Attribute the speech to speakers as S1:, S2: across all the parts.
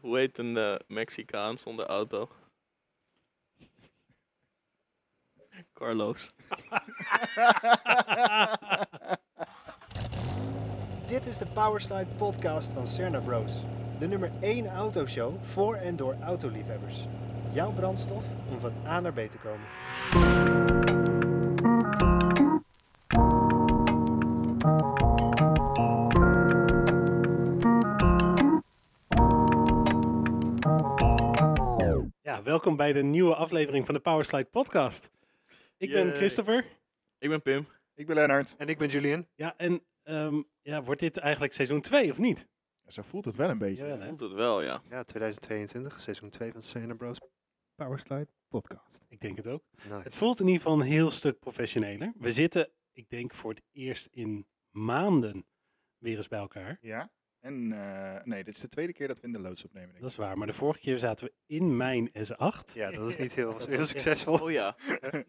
S1: Hoe heet een eh, Mexicaan zonder auto? Carlos.
S2: Dit is de Powerslide podcast van Cerna Bros. De nummer 1 autoshow voor en door autoliefhebbers. Jouw brandstof om van A naar B te komen.
S3: Ja, welkom bij de nieuwe aflevering van de Powerslide Podcast. Ik ben
S1: Yay.
S3: Christopher.
S1: Ik ben Pim.
S4: Ik ben Lennart.
S2: En ik ben Julian.
S3: Ja, en ehm, ja, wordt dit eigenlijk seizoen 2 of niet?
S4: Zo voelt het wel een beetje.
S3: Jawel, hè?
S1: Voelt het wel, ja.
S2: Ja, 2022, seizoen 2 van Cerna Bros. Powerslide podcast.
S3: Ik denk het ook. Het
S2: Nice.
S3: voelt in ieder geval een heel stuk professioneler. We zitten, ik denk, voor het eerst in maanden weer eens bij elkaar.
S4: Ja. En eh, nee, dit is de tweede keer dat we in de loods opnemen. denk ik.
S3: Dat is waar, maar de vorige keer zaten we in mijn S8
S2: Ja, dat is niet heel,
S3: Dat
S2: heel
S3: was-
S2: succesvol.
S1: Oh ja.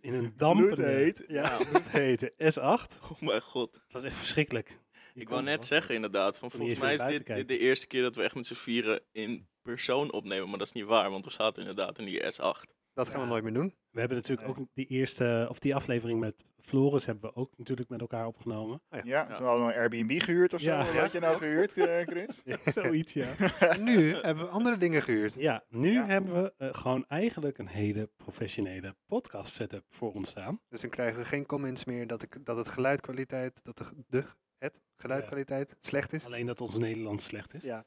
S3: in een dampende...
S4: Bloedheet.
S3: Ja, bloedhete S8.
S1: Oh mijn god.
S3: Het was echt verschrikkelijk.
S1: Ik wou net zeggen inderdaad, van
S3: Kon niet
S1: volgens
S3: eens
S1: mij
S3: meer
S1: is
S3: naar
S1: dit,
S3: buiten
S1: dit de eerste keer dat we echt met z'n vieren in persoon opnemen. Maar dat is niet waar, want we zaten inderdaad in die S8.
S2: Dat gaan we
S3: Ja.
S2: nooit meer doen.
S3: We hebben natuurlijk
S4: Nee.
S3: ook die eerste, of die aflevering met Floris hebben we ook natuurlijk met elkaar opgenomen.
S4: Ja, toen hadden we een Airbnb gehuurd of zo.
S3: Ja.
S4: Wat had je nou gehuurd, eh, Chris?
S3: Zoiets, ja.
S2: En nu hebben we andere dingen gehuurd.
S3: Ja, nu
S4: Ja.
S3: hebben we eh, gewoon eigenlijk een hele professionele podcast setup voor ons staan.
S2: Dus dan krijgen we geen comments meer dat, ik, dat het geluidkwaliteit, dat de, de het geluidkwaliteit slecht is.
S3: Alleen dat ons Nederlands slecht is.
S2: Ja,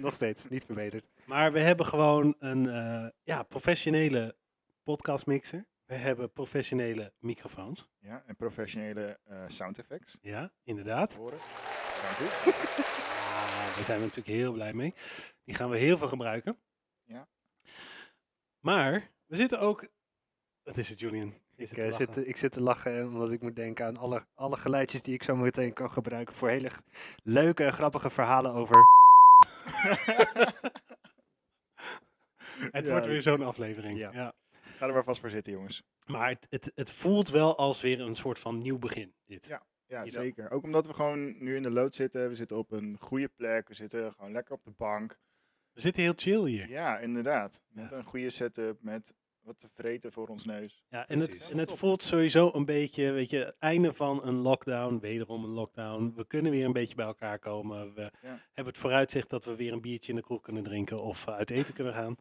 S2: nog steeds. Niet verbeterd.
S3: Maar we hebben gewoon een eh, ja, professionele podcastmixer. We hebben professionele microfoons.
S4: Ja, en professionele eh, sound effects.
S3: Ja, inderdaad.
S4: Horen. Dank u.
S3: Ah, daar zijn we natuurlijk heel blij mee. Die gaan we heel veel gebruiken.
S4: Ja.
S3: Maar we zitten ook... Wat is het, Julian? Je
S2: Ik,
S3: te
S2: eh, zit,
S3: lachen.
S2: te- ik zit te lachen eh, omdat ik moet denken aan alle, alle geluidjes die ik zo meteen kan gebruiken voor hele g- leuke en grappige verhalen over.
S3: Het
S4: Ja,
S3: wordt weer zo'n aflevering.
S2: Ja.
S3: ja.
S4: Ga er maar vast voor zitten, jongens.
S3: Maar het, het, het voelt wel als weer een soort van nieuw begin, dit.
S4: Ja. Ja,
S3: Hierop.
S4: zeker. Ook omdat we gewoon nu in de lood zitten. We zitten op een goede plek. We zitten gewoon lekker op de bank.
S3: We zitten heel chill hier.
S4: Ja, inderdaad. Met
S3: Ja.
S4: een goede setup. Met wat te vreten voor ons neus.
S3: Ja, en het,
S4: Precies.
S3: en het voelt sowieso een beetje, weet je, het einde van een lockdown, wederom een lockdown. We kunnen weer een beetje bij elkaar komen. We hebben het vooruitzicht dat we weer een biertje in de kroeg kunnen drinken of eh, uit eten kunnen gaan.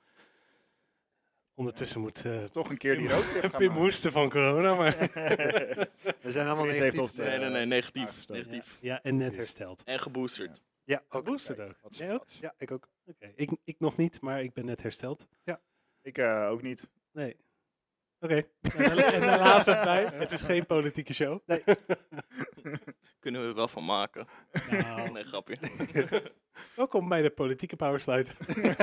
S3: Ondertussen moet eh,
S4: Toch een keer die roadtrip gaan
S3: Pim
S4: maken.
S3: hoesten van corona, maar...
S2: We zijn allemaal
S4: Chris heeft
S2: negatief.
S4: ons de-
S2: eh,
S1: Nee, nee, nee, negatief.
S4: uitgestoten.
S1: negatief.
S3: Ja, en net
S4: Precies.
S3: hersteld.
S1: En geboosterd.
S2: Ja, ook.
S3: Boosterd
S4: Kijk,
S3: ook.
S4: wat
S3: Jij ook?
S4: fats.
S2: Ja, ik ook.
S3: Oké, ik, ik nog niet, maar ik ben net hersteld.
S4: Ik eh, ook niet.
S3: Nee. Oké, en daar- en daar laten we het bij. Het is geen politieke show.
S1: Kunnen we er wel van maken.
S3: Nou,
S1: Nee, grapje.
S3: Welkom bij de politieke powersluit.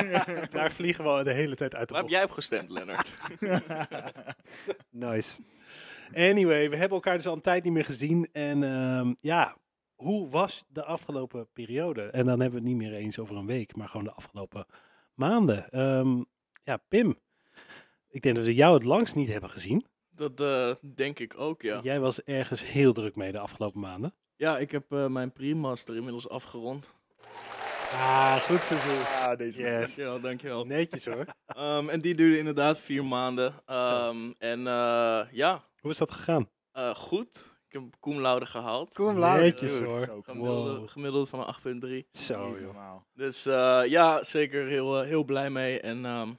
S3: Daar vliegen we al de hele tijd uit de
S1: Waar heb
S3: bocht.
S1: jij op gestemd, Lennart?
S2: Nice.
S3: Anyway, we hebben elkaar dus al een tijd niet meer gezien. En ehm, ja, hoe was de afgelopen periode? En dan hebben we het niet meer eens over een week, maar gewoon de afgelopen maanden. Ehm, ja, Pim, ik denk dat we jou het langst niet hebben gezien.
S1: Dat eh, denk ik ook, ja.
S3: Jij was ergens heel druk mee de afgelopen maanden.
S1: Ja, ik heb eh, mijn pre-master inmiddels afgerond.
S3: Ah, goed zo, Jules.
S4: Ah, deze.
S2: Yes.
S1: Dankjewel, dankjewel.
S3: Netjes hoor.
S1: Ehm, en die duurde inderdaad vier maanden. Ehm, en eh, ja,
S3: Hoe is dat gegaan?
S1: eh, goed. Ik heb cum laude gehaald.
S2: Kom,
S3: Netjes
S2: Lauw.
S3: hoor.
S4: Zo
S1: Gemiddelde,
S3: Wow.
S1: gemiddelde van een 8,3.
S2: Zo,
S4: Niet
S2: joh.
S4: normaal.
S1: Dus eh, ja, zeker heel, eh, heel blij mee. En, ehm,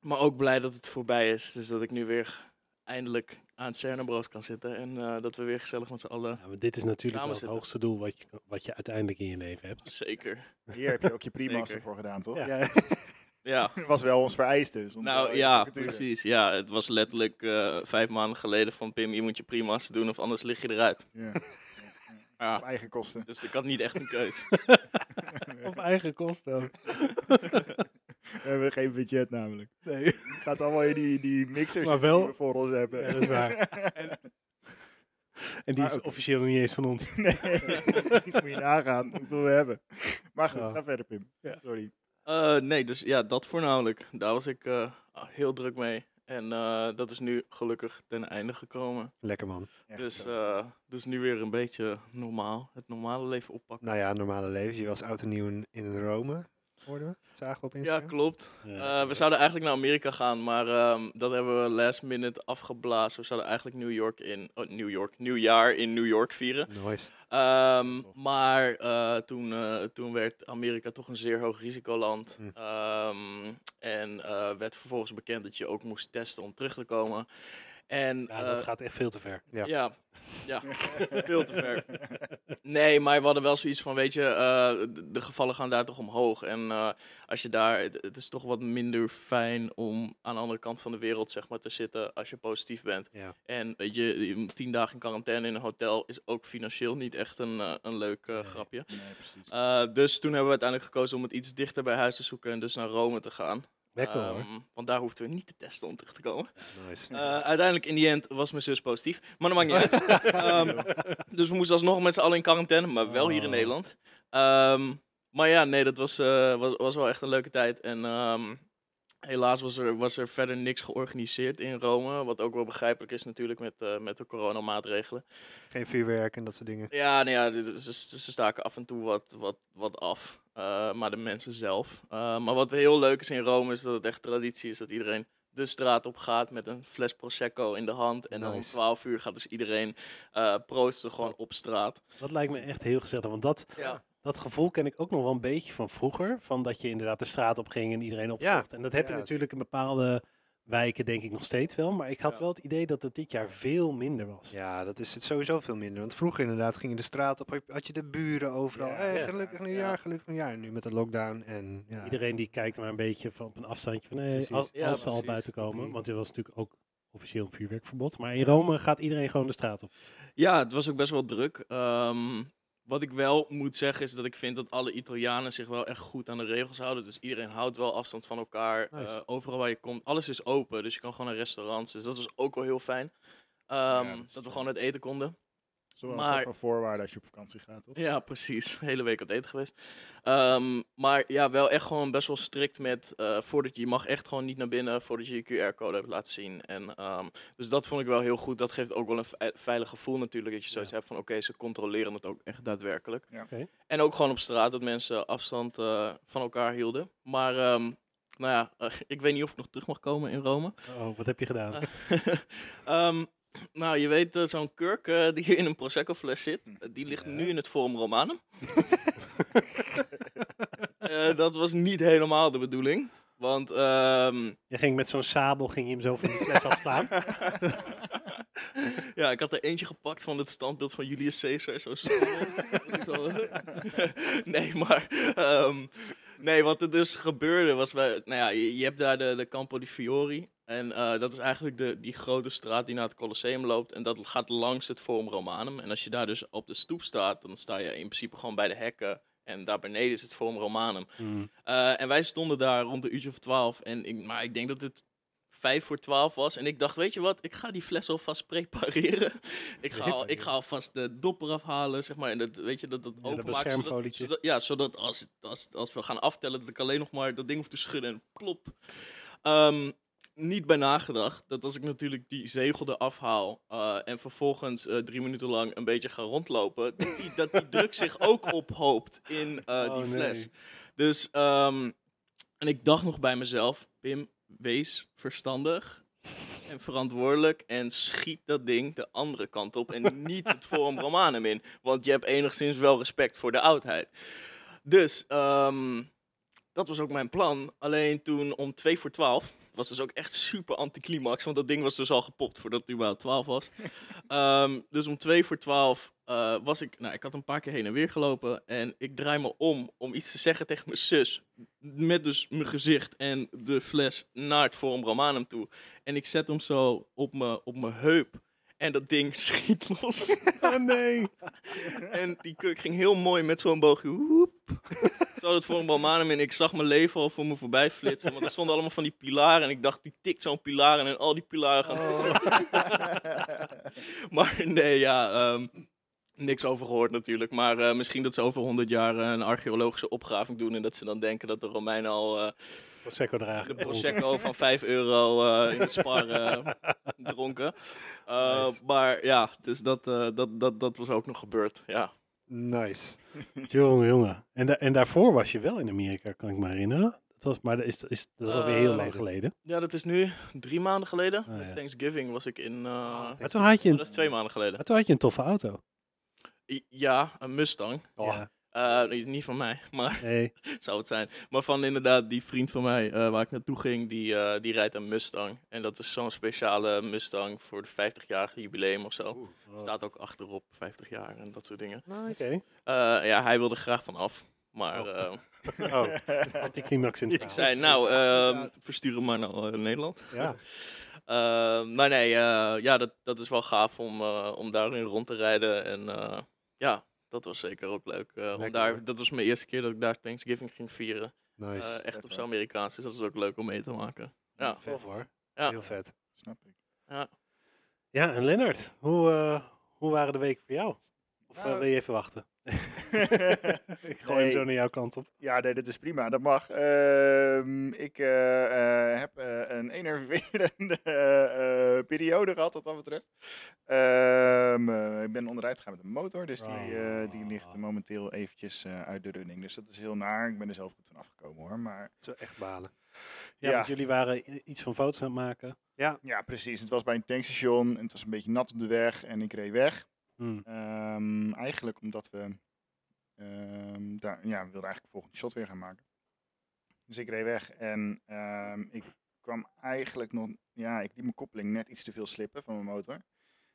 S1: maar ook blij dat het voorbij is. Dus dat ik nu weer eindelijk aan het Cernebroos kan zitten. En eh, dat we weer gezellig met z'n allen...
S3: Ja, maar Nou, dit is
S1: Samen
S3: natuurlijk wel het
S1: zitten.
S3: hoogste doel wat je, wat je uiteindelijk in je leven hebt.
S1: Zeker.
S4: Hier heb je ook je
S1: Zeker.
S4: pre-master voor gedaan, toch?
S3: Ja.
S2: Ja.
S1: Ja.
S4: Dat was wel ons vereiste. dus om te
S1: Nou
S4: wel
S1: ja,
S4: even te duren.
S1: precies. Ja, het was letterlijk eh, vijf maanden geleden van Pim, je moet je prima's doen of anders lig je eruit.
S4: Ja. Op
S1: Ja,
S4: eigen kosten.
S1: dus ik had niet echt een keus.
S3: Op eigen kosten ook.
S4: We hebben geen budget namelijk.
S3: Nee.
S4: Het gaat allemaal in die, die mixers
S3: Maar wel-
S4: die we voor ons hebben.
S3: Ja, dat is waar. En, en die
S4: Maar
S3: is
S4: oké.
S3: officieel nog niet eens van ons.
S4: Nee, iets moet je nagaan hoeveel we hebben. Maar goed,
S2: Ja.
S4: ga verder Pim.
S3: Ja.
S4: Sorry.
S1: Eh, nee, dus ja, dat voornamelijk. Daar was ik eh, heel druk mee. En eh, dat is nu gelukkig ten einde gekomen.
S2: Lekker man.
S4: Echt
S1: dus,
S4: zo.
S1: eh, dus nu weer een beetje normaal. Het normale leven oppakken.
S2: Nou ja, normale leven. Je was oud en nieuw in- in Rome. hoorden we. Zagen we op
S1: Ja,
S2: Instagram.
S1: klopt.
S3: Ja.
S1: Eh, we zouden eigenlijk naar Amerika gaan, maar ehm, dat hebben we last minute afgeblazen. We zouden eigenlijk New York in, oh, New York, nieuwjaar in New York vieren.
S5: Nice.
S1: Ehm,
S5: Tof.
S1: maar eh, toen, eh, toen werd Amerika toch een zeer hoog risicoland.
S5: Hm.
S1: Ehm, en eh, werd vervolgens bekend dat je ook moest testen om terug te komen. En,
S3: Ja, dat
S1: eh,
S3: gaat echt veel te ver.
S5: Ja.
S1: ja, ja, veel te ver. Nee, maar we hadden wel zoiets van, weet je, eh, de, de gevallen gaan daar toch omhoog. En eh, als je daar, het, het is toch wat minder fijn om aan de andere kant van de wereld, zeg maar, te zitten als je positief bent.
S5: Ja.
S1: En weet je, je, tien dagen in quarantaine in een hotel is ook financieel niet echt een, eh, een leuk eh, grapje.
S4: Nee, precies.
S1: Eh, dus toen hebben we uiteindelijk gekozen om het iets dichter bij huis te zoeken en dus naar Rome te gaan.
S3: Werkt wel hoor.
S1: Ehm, want daar hoefden we niet te testen om terug te komen.
S5: Nice.
S1: Eh, uiteindelijk in die end was mijn zus positief. Maar dat maakt niet uit. Ehm, dus we moesten alsnog met z'n allen in quarantaine, maar wel hier in
S3: Oh.
S1: Nederland. Ehm, maar ja, nee, dat was, eh, was, was wel echt een leuke tijd. En ehm, helaas was er, was er verder niks georganiseerd in Rome. Wat ook wel begrijpelijk is natuurlijk met, eh, met de coronamaatregelen.
S5: Geen vuurwerk en dat soort dingen.
S1: Ja, nou ja, dit is- ze, ze staken af en toe wat, wat, wat af. Eh, maar de mensen zelf. Eh, maar wat heel leuk is in Rome is dat het echt traditie is dat iedereen de straat op gaat met een fles prosecco in de hand. En dan om
S5: Nice.
S1: 12 uur gaat dus iedereen eh, proosten gewoon op straat.
S3: Dat lijkt me echt heel gezellig. Want dat,
S1: Ja.
S3: dat gevoel ken ik ook nog wel een beetje van vroeger. Van dat je inderdaad de straat op ging en iedereen opzocht. En dat heb
S5: Ja,
S3: je
S5: het-
S3: natuurlijk in bepaalde wijken denk ik nog steeds wel. Maar ik had
S1: Ja.
S3: wel het idee dat het dit jaar veel minder was.
S5: Ja, dat is het sowieso veel minder. Want vroeger inderdaad ging je de straat op, had je de buren overal.
S4: Ja,
S5: hey,
S3: ja.
S5: gelukkig nieuwjaar, gelukkig nieuwjaar. En Nu met de lockdown en ja.
S3: Iedereen die kijkt maar een beetje van op een afstandje van nee,
S5: Precies.
S3: als,
S1: Ja,
S3: als ze al
S1: precies.
S3: buiten komen.
S5: Kopie.
S3: Want er was natuurlijk ook officieel een vuurwerkverbod. Maar in Rome gaat iedereen gewoon de straat op.
S1: ja, het was ook best wel druk. Ehm, wat ik wel moet zeggen is dat ik vind dat alle Italianen zich wel echt goed aan de regels houden. Dus iedereen houdt wel afstand van elkaar.
S5: Nice.
S1: Eh, overal waar je komt, alles is open. Dus je kan gewoon naar restaurants. Dus dat was ook wel heel fijn. Ehm,
S4: dat
S1: dat we
S4: is fijn.
S1: gewoon uit eten konden.
S4: Zoals
S1: maar-
S4: van voorwaarde als je op vakantie gaat, toch?
S1: Ja, precies. hele week aan het eten geweest. Ehm, maar ja, wel echt gewoon best wel strikt met... eh, voordat je, je mag echt gewoon niet naar binnen voordat je je QR-code hebt laten zien. En, ehm, dus dat vond ik wel heel goed. Dat geeft ook wel een ve- veilig gevoel natuurlijk. Dat je zoiets hebt van, oké, ze controleren het ook echt daadwerkelijk.
S4: Ja.
S3: Oké.
S1: En ook gewoon op straat, dat mensen afstand eh, van elkaar hielden. Maar... ehm, nou ja, eh, ik weet niet of ik nog terug mag komen in Rome.
S3: Oh, wat heb je gedaan?
S1: Ehm, nou, je weet, eh, zo'n kurk eh, die in een Prosecco-fles zit, eh, die ligt
S5: Ja.
S1: nu in het Forum Romanum. Eh, dat was niet helemaal de bedoeling. Want ehm,
S3: Je ging met zo'n sabel ging je hem zo van die fles afslaan.
S1: ja, ik had er eentje gepakt van het standbeeld van Julius Caesar. Zo stom. Zo. nee, maar... ehm, nee, wat er dus gebeurde was... Wij, nou ja, je, je hebt daar de, de Campo di Fiori. En eh, dat is eigenlijk de, die grote straat die naar het Colosseum loopt. En dat gaat langs het Forum Romanum. En als je daar dus op de stoep staat... dan sta je in principe gewoon bij de hekken. En daar beneden is het Forum Romanum.
S3: Hmm.
S1: Eh, en wij stonden daar rond een uurtje of twaalf. En ik, maar ik denk dat het vijf voor twaalf was. En ik dacht, weet je wat, ik ga die fles alvast prepareren. ik, ga al, ik ga alvast de dopper afhalen, zeg maar. En dat, weet je, dat, dat
S3: dat
S1: openmaken, zodat,
S3: beschermfolietje.
S1: zodat, ja, zodat als, als, als we gaan aftellen, dat ik alleen nog maar dat ding hoef te schudden en plop. Ehm, niet bij nagedacht dat als ik natuurlijk die zegel eraf haal eh, en vervolgens eh, drie minuten lang een beetje ga rondlopen, dat die, dat die druk zich ook ophoopt in eh,
S3: Oh,
S1: die
S3: nee.
S1: fles. Dus, ehm, en ik dacht nog bij mezelf, Pim, wees verstandig en verantwoordelijk en schiet dat ding de andere kant op en niet het Forum Romanum in, want je hebt enigszins wel respect voor de oudheid. Dus, ehm, dat was ook mijn plan. Alleen toen om 2 voor 12 was dus ook echt super anticlimax. Want dat ding was dus al gepopt voordat het überhaupt 12 was. Ehm, dus om 2 voor 12 eh, was ik. Nou, ik had een paar keer heen en weer gelopen. En ik draai me om om iets te zeggen tegen mijn zus. Met dus mijn gezicht en de fles naar het Forum Romanum toe. En ik zet hem zo op mijn op mijn heup. En dat ding schiet los.
S3: Oh nee.
S1: En die kurk ging heel mooi met zo'n boogje. Woep. Zo dat voor een balmanum en ik zag mijn leven al voor me voorbij flitsen. Want er stonden allemaal van die pilaren. En ik dacht, die tikt zo'n pilaar en en al die pilaren gaan. maar nee, ja. ehm, niks over gehoord natuurlijk. Maar eh, misschien dat ze over 100 jaar eh, een archeologische opgraving doen. En dat ze dan denken dat de Romeinen al eh,
S3: Prosecco
S1: de
S3: dragen.
S1: Prosecco van 5 euro eh, in de spar eh, dronken. Eh, Maar ja, dus dat, eh, dat, dat, dat was ook nog gebeurd. Ja.
S5: Nice.
S3: Jongen, jongen. En, da en daarvoor was je wel in Amerika, kan ik me herinneren. Dat was, maar dat is, is, dat is alweer heel
S1: Eh,
S3: lang geleden.
S1: Ja, dat is nu drie maanden geleden.
S3: Ah,
S1: Met
S3: ja.
S1: Thanksgiving was ik in... eh,
S3: Maar toen had je
S1: dat
S3: een,
S1: is twee maanden geleden.
S3: maar toen had je een toffe auto.
S1: I- Ja, een Mustang.
S5: Oh,
S3: Ja,
S1: Eh, die is niet van mij, maar
S3: nee.
S1: zou het zijn. Maar van inderdaad die vriend van mij eh, waar ik naartoe ging, die, eh, die rijdt een Mustang. En dat is zo'n speciale Mustang voor de 50-jarige jubileum of zo. Staat ook achterop 50 jaar en dat soort dingen.
S3: Oké.
S1: Eh, ja, hij wilde er graag van af. Maar
S3: Oh.
S1: eh,
S5: Oh,
S3: Anticlimax in het
S1: ik
S3: verhaal.
S1: zei, nou, ehm verstuur hem maar naar eh, Nederland.
S5: ja.
S1: Eh, maar nee, eh, ja, dat, dat is wel gaaf om, eh, om daarin rond te rijden. En eh, ja, dat was zeker ook leuk. eh, om
S5: Lekker,
S1: daar,
S5: hoor.
S1: dat was mijn eerste keer dat ik daar Thanksgiving ging vieren. Eh,
S5: Nice.
S1: echt op
S4: hoor.
S1: zo'n Amerikaans, dus dat is ook leuk om mee te maken. ja.
S3: Tof hoor.
S1: ja.
S5: Heel vet.
S4: Snap ik.
S3: Ja, en Lennart, hoe, eh, hoe waren de weken voor jou? Of eh,
S4: Nou,
S3: wil je even wachten? Ik gooi hem
S4: Nee.
S3: zo naar jouw kant op.
S4: Ja, nee, dit is prima. Dat mag. Ehm, ik eh, eh, heb eh, een enerverende eh, eh, periode gehad wat dat betreft. Ehm, eh, ik ben onderuit gegaan met een motor, dus die, eh, die ligt momenteel eventjes eh, uit de running. Dus dat is heel naar. Ik ben er zelf goed van afgekomen hoor. Maar
S5: Zo echt balen.
S3: Ja,
S4: Ja.
S3: want jullie waren i- iets van foto's aan het maken.
S4: ja, precies. Het was bij een tankstation en het was een beetje nat op de weg en ik reed weg.
S3: Hmm.
S4: Ehm, eigenlijk omdat we ehm, daar, ja, we wilden eigenlijk de volgende shot weer gaan maken. Dus ik reed weg en ehm, ik kwam eigenlijk nog, ja, ik liet mijn koppeling net iets te veel slippen van mijn motor.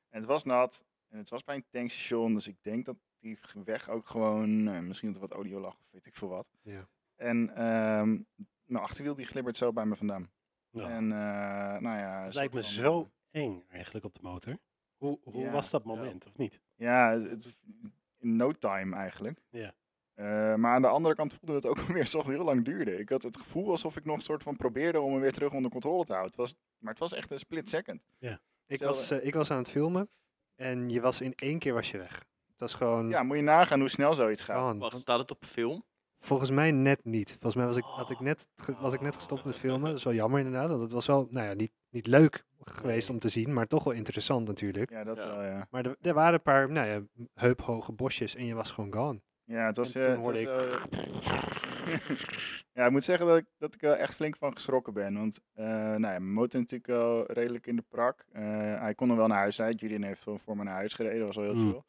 S4: En het was nat en het was bij een tankstation, dus ik denk dat die weg ook gewoon, eh, misschien dat er wat audio lag of weet ik veel wat.
S5: Ja.
S4: En ehm, mijn achterwiel die glibbert zo bij me vandaan.
S3: Ja.
S4: En eh, nou ja, een
S3: Het lijkt me
S4: soort van,
S3: zo eng eigenlijk op de motor. Hoe, hoe
S4: Ja.
S3: was dat moment, of niet?
S4: Ja, het- het- in no time eigenlijk.
S3: Ja.
S4: Eh, maar aan de andere kant voelde het ook weer alsof het heel lang duurde. Ik had het gevoel alsof ik nog soort van probeerde om hem weer terug onder controle te houden. Het was, maar het was echt een split second.
S5: Ik
S4: Stel-
S5: was, eh, ik was aan het filmen en je was in één keer was je weg. Dat is gewoon...
S4: Ja, moet je nagaan hoe snel zoiets gaat.
S5: man,
S1: Wacht,
S5: want
S1: staat het op een film?
S5: volgens mij net niet. Volgens mij was ik, had ik net, ge- was ik net gestopt met filmen. Dat is wel jammer inderdaad, want het was wel nou ja, niet, niet leuk geweest om te zien, maar toch wel interessant natuurlijk.
S4: Ja, dat
S1: Ja.
S4: wel, ja.
S5: Maar er, er waren een paar nou ja, heuphoge bosjes en je was gewoon gone.
S4: Ja, het was...
S5: En
S4: eh,
S5: toen
S4: het
S5: hoorde
S4: was, eh, ja, ik moet zeggen dat ik, dat ik er echt flink van geschrokken ben. Want eh nou ja, mijn motor natuurlijk wel redelijk in de prak. Eh, hij kon er wel naar huis uit. Julian heeft wel voor me naar huis gereden. Dat was wel heel
S3: Mm.
S4: chill.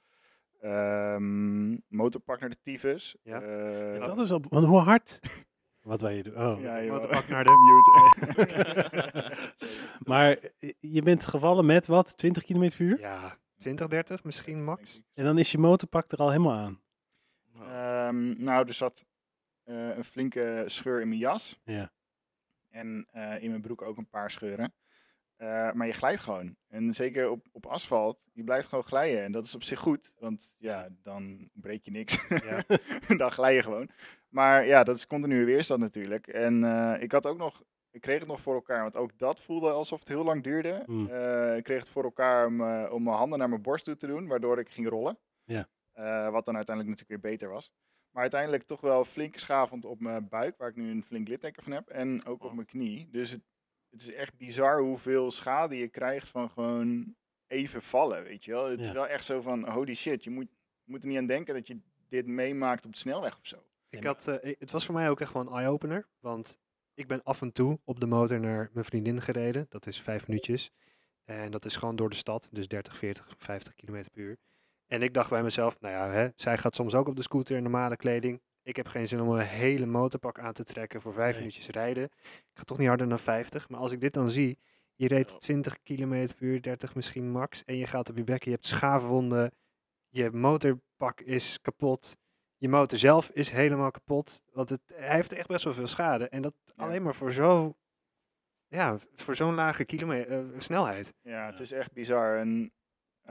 S4: Ehm motorpak naar de tyfus.
S5: Ja.
S4: Eh,
S3: Dat is op, want hoe hard? Wat wij doen. Oh.
S4: Ja, joh.
S5: Motorpak naar de...
S4: mute.
S3: Maar eh, je bent gevallen met wat? 20 km per uur?
S5: Ja, 20, 30 misschien max.
S3: En dan is je motorpak er al helemaal aan.
S1: Nou,
S4: Ehm, nou, er zat eh, een flinke scheur in mijn jas.
S3: Ja.
S4: En eh, in mijn broek ook een paar scheuren. Eh, maar je glijdt gewoon. En zeker op, op asfalt, je blijft gewoon glijden. En dat is op zich goed, want ja, dan breek je niks.
S5: Ja.
S4: dan glij je gewoon. Maar ja, dat is continue weerstand natuurlijk. En eh, ik had ook nog, ik kreeg het nog voor elkaar, want ook dat voelde alsof het heel lang duurde.
S3: Hmm.
S4: Eh, ik kreeg het voor elkaar om, eh, om mijn handen naar mijn borst toe te doen, waardoor ik ging rollen.
S3: Ja.
S4: Eh, wat dan uiteindelijk natuurlijk weer beter was. Maar uiteindelijk toch wel flink schavend op mijn buik, waar ik nu een flink litteken van heb. En ook op mijn knie. Dus het, het is echt bizar hoeveel schade je krijgt van gewoon even vallen, weet je wel. Het
S3: Ja.
S4: is wel echt zo van, holy shit, je moet, je moet er niet aan denken dat je dit meemaakt op de snelweg of zo.
S5: Ik had, eh, ik- het was voor mij ook echt wel een eye-opener. Want ik ben af en toe op de motor naar mijn vriendin gereden. Dat is vijf minuutjes. En dat is gewoon door de stad. Dus 30, 40, 50 kilometer per uur. En ik dacht bij mezelf, nou ja, hè, zij gaat soms ook op de scooter in normale kleding. Ik heb geen zin om een hele motorpak aan te trekken voor vijf
S3: Nee.
S5: minuutjes rijden. Ik ga toch niet harder dan 50. Maar als ik dit dan zie, je
S1: Ja.
S5: reed 20 kilometer per uur, 30 misschien max. En je gaat op je bekken, je hebt schaafwonden. Je motorpak is kapot. Je motor zelf is helemaal kapot. Want het, hij heeft echt best wel veel schade. En dat alleen maar voor zo... Ja, voor zo'n lage kilome- eh, snelheid.
S4: Ja, het
S3: Ja.
S4: is echt bizar. En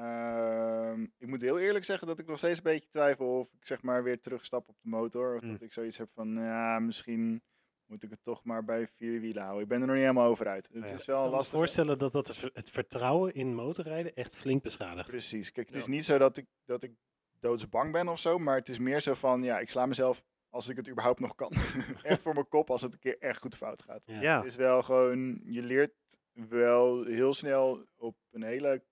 S4: ehm, ik moet heel eerlijk zeggen dat ik nog steeds een beetje twijfel of ik zeg maar weer terugstap op de motor. Of
S5: Mm.
S4: dat ik zoiets heb van, ja, misschien moet ik het toch maar bij vier wielen houden. Ik ben er nog niet helemaal over uit. Het
S5: ja.
S4: is
S3: Ik
S4: wel
S3: kan me
S4: lastig.
S3: voorstellen dat dat het ver- het vertrouwen in motorrijden echt flink beschadigt.
S4: Precies. Kijk, het
S1: Ja.
S4: is niet zo dat ik, dat ik doodsbang ben of zo, maar het is meer zo van, ja, ik sla mezelf als ik het überhaupt nog kan. echt voor mijn kop als het een keer echt goed fout gaat.
S3: Ja.
S5: Ja,
S4: Het is wel gewoon, je leert wel heel snel op een hele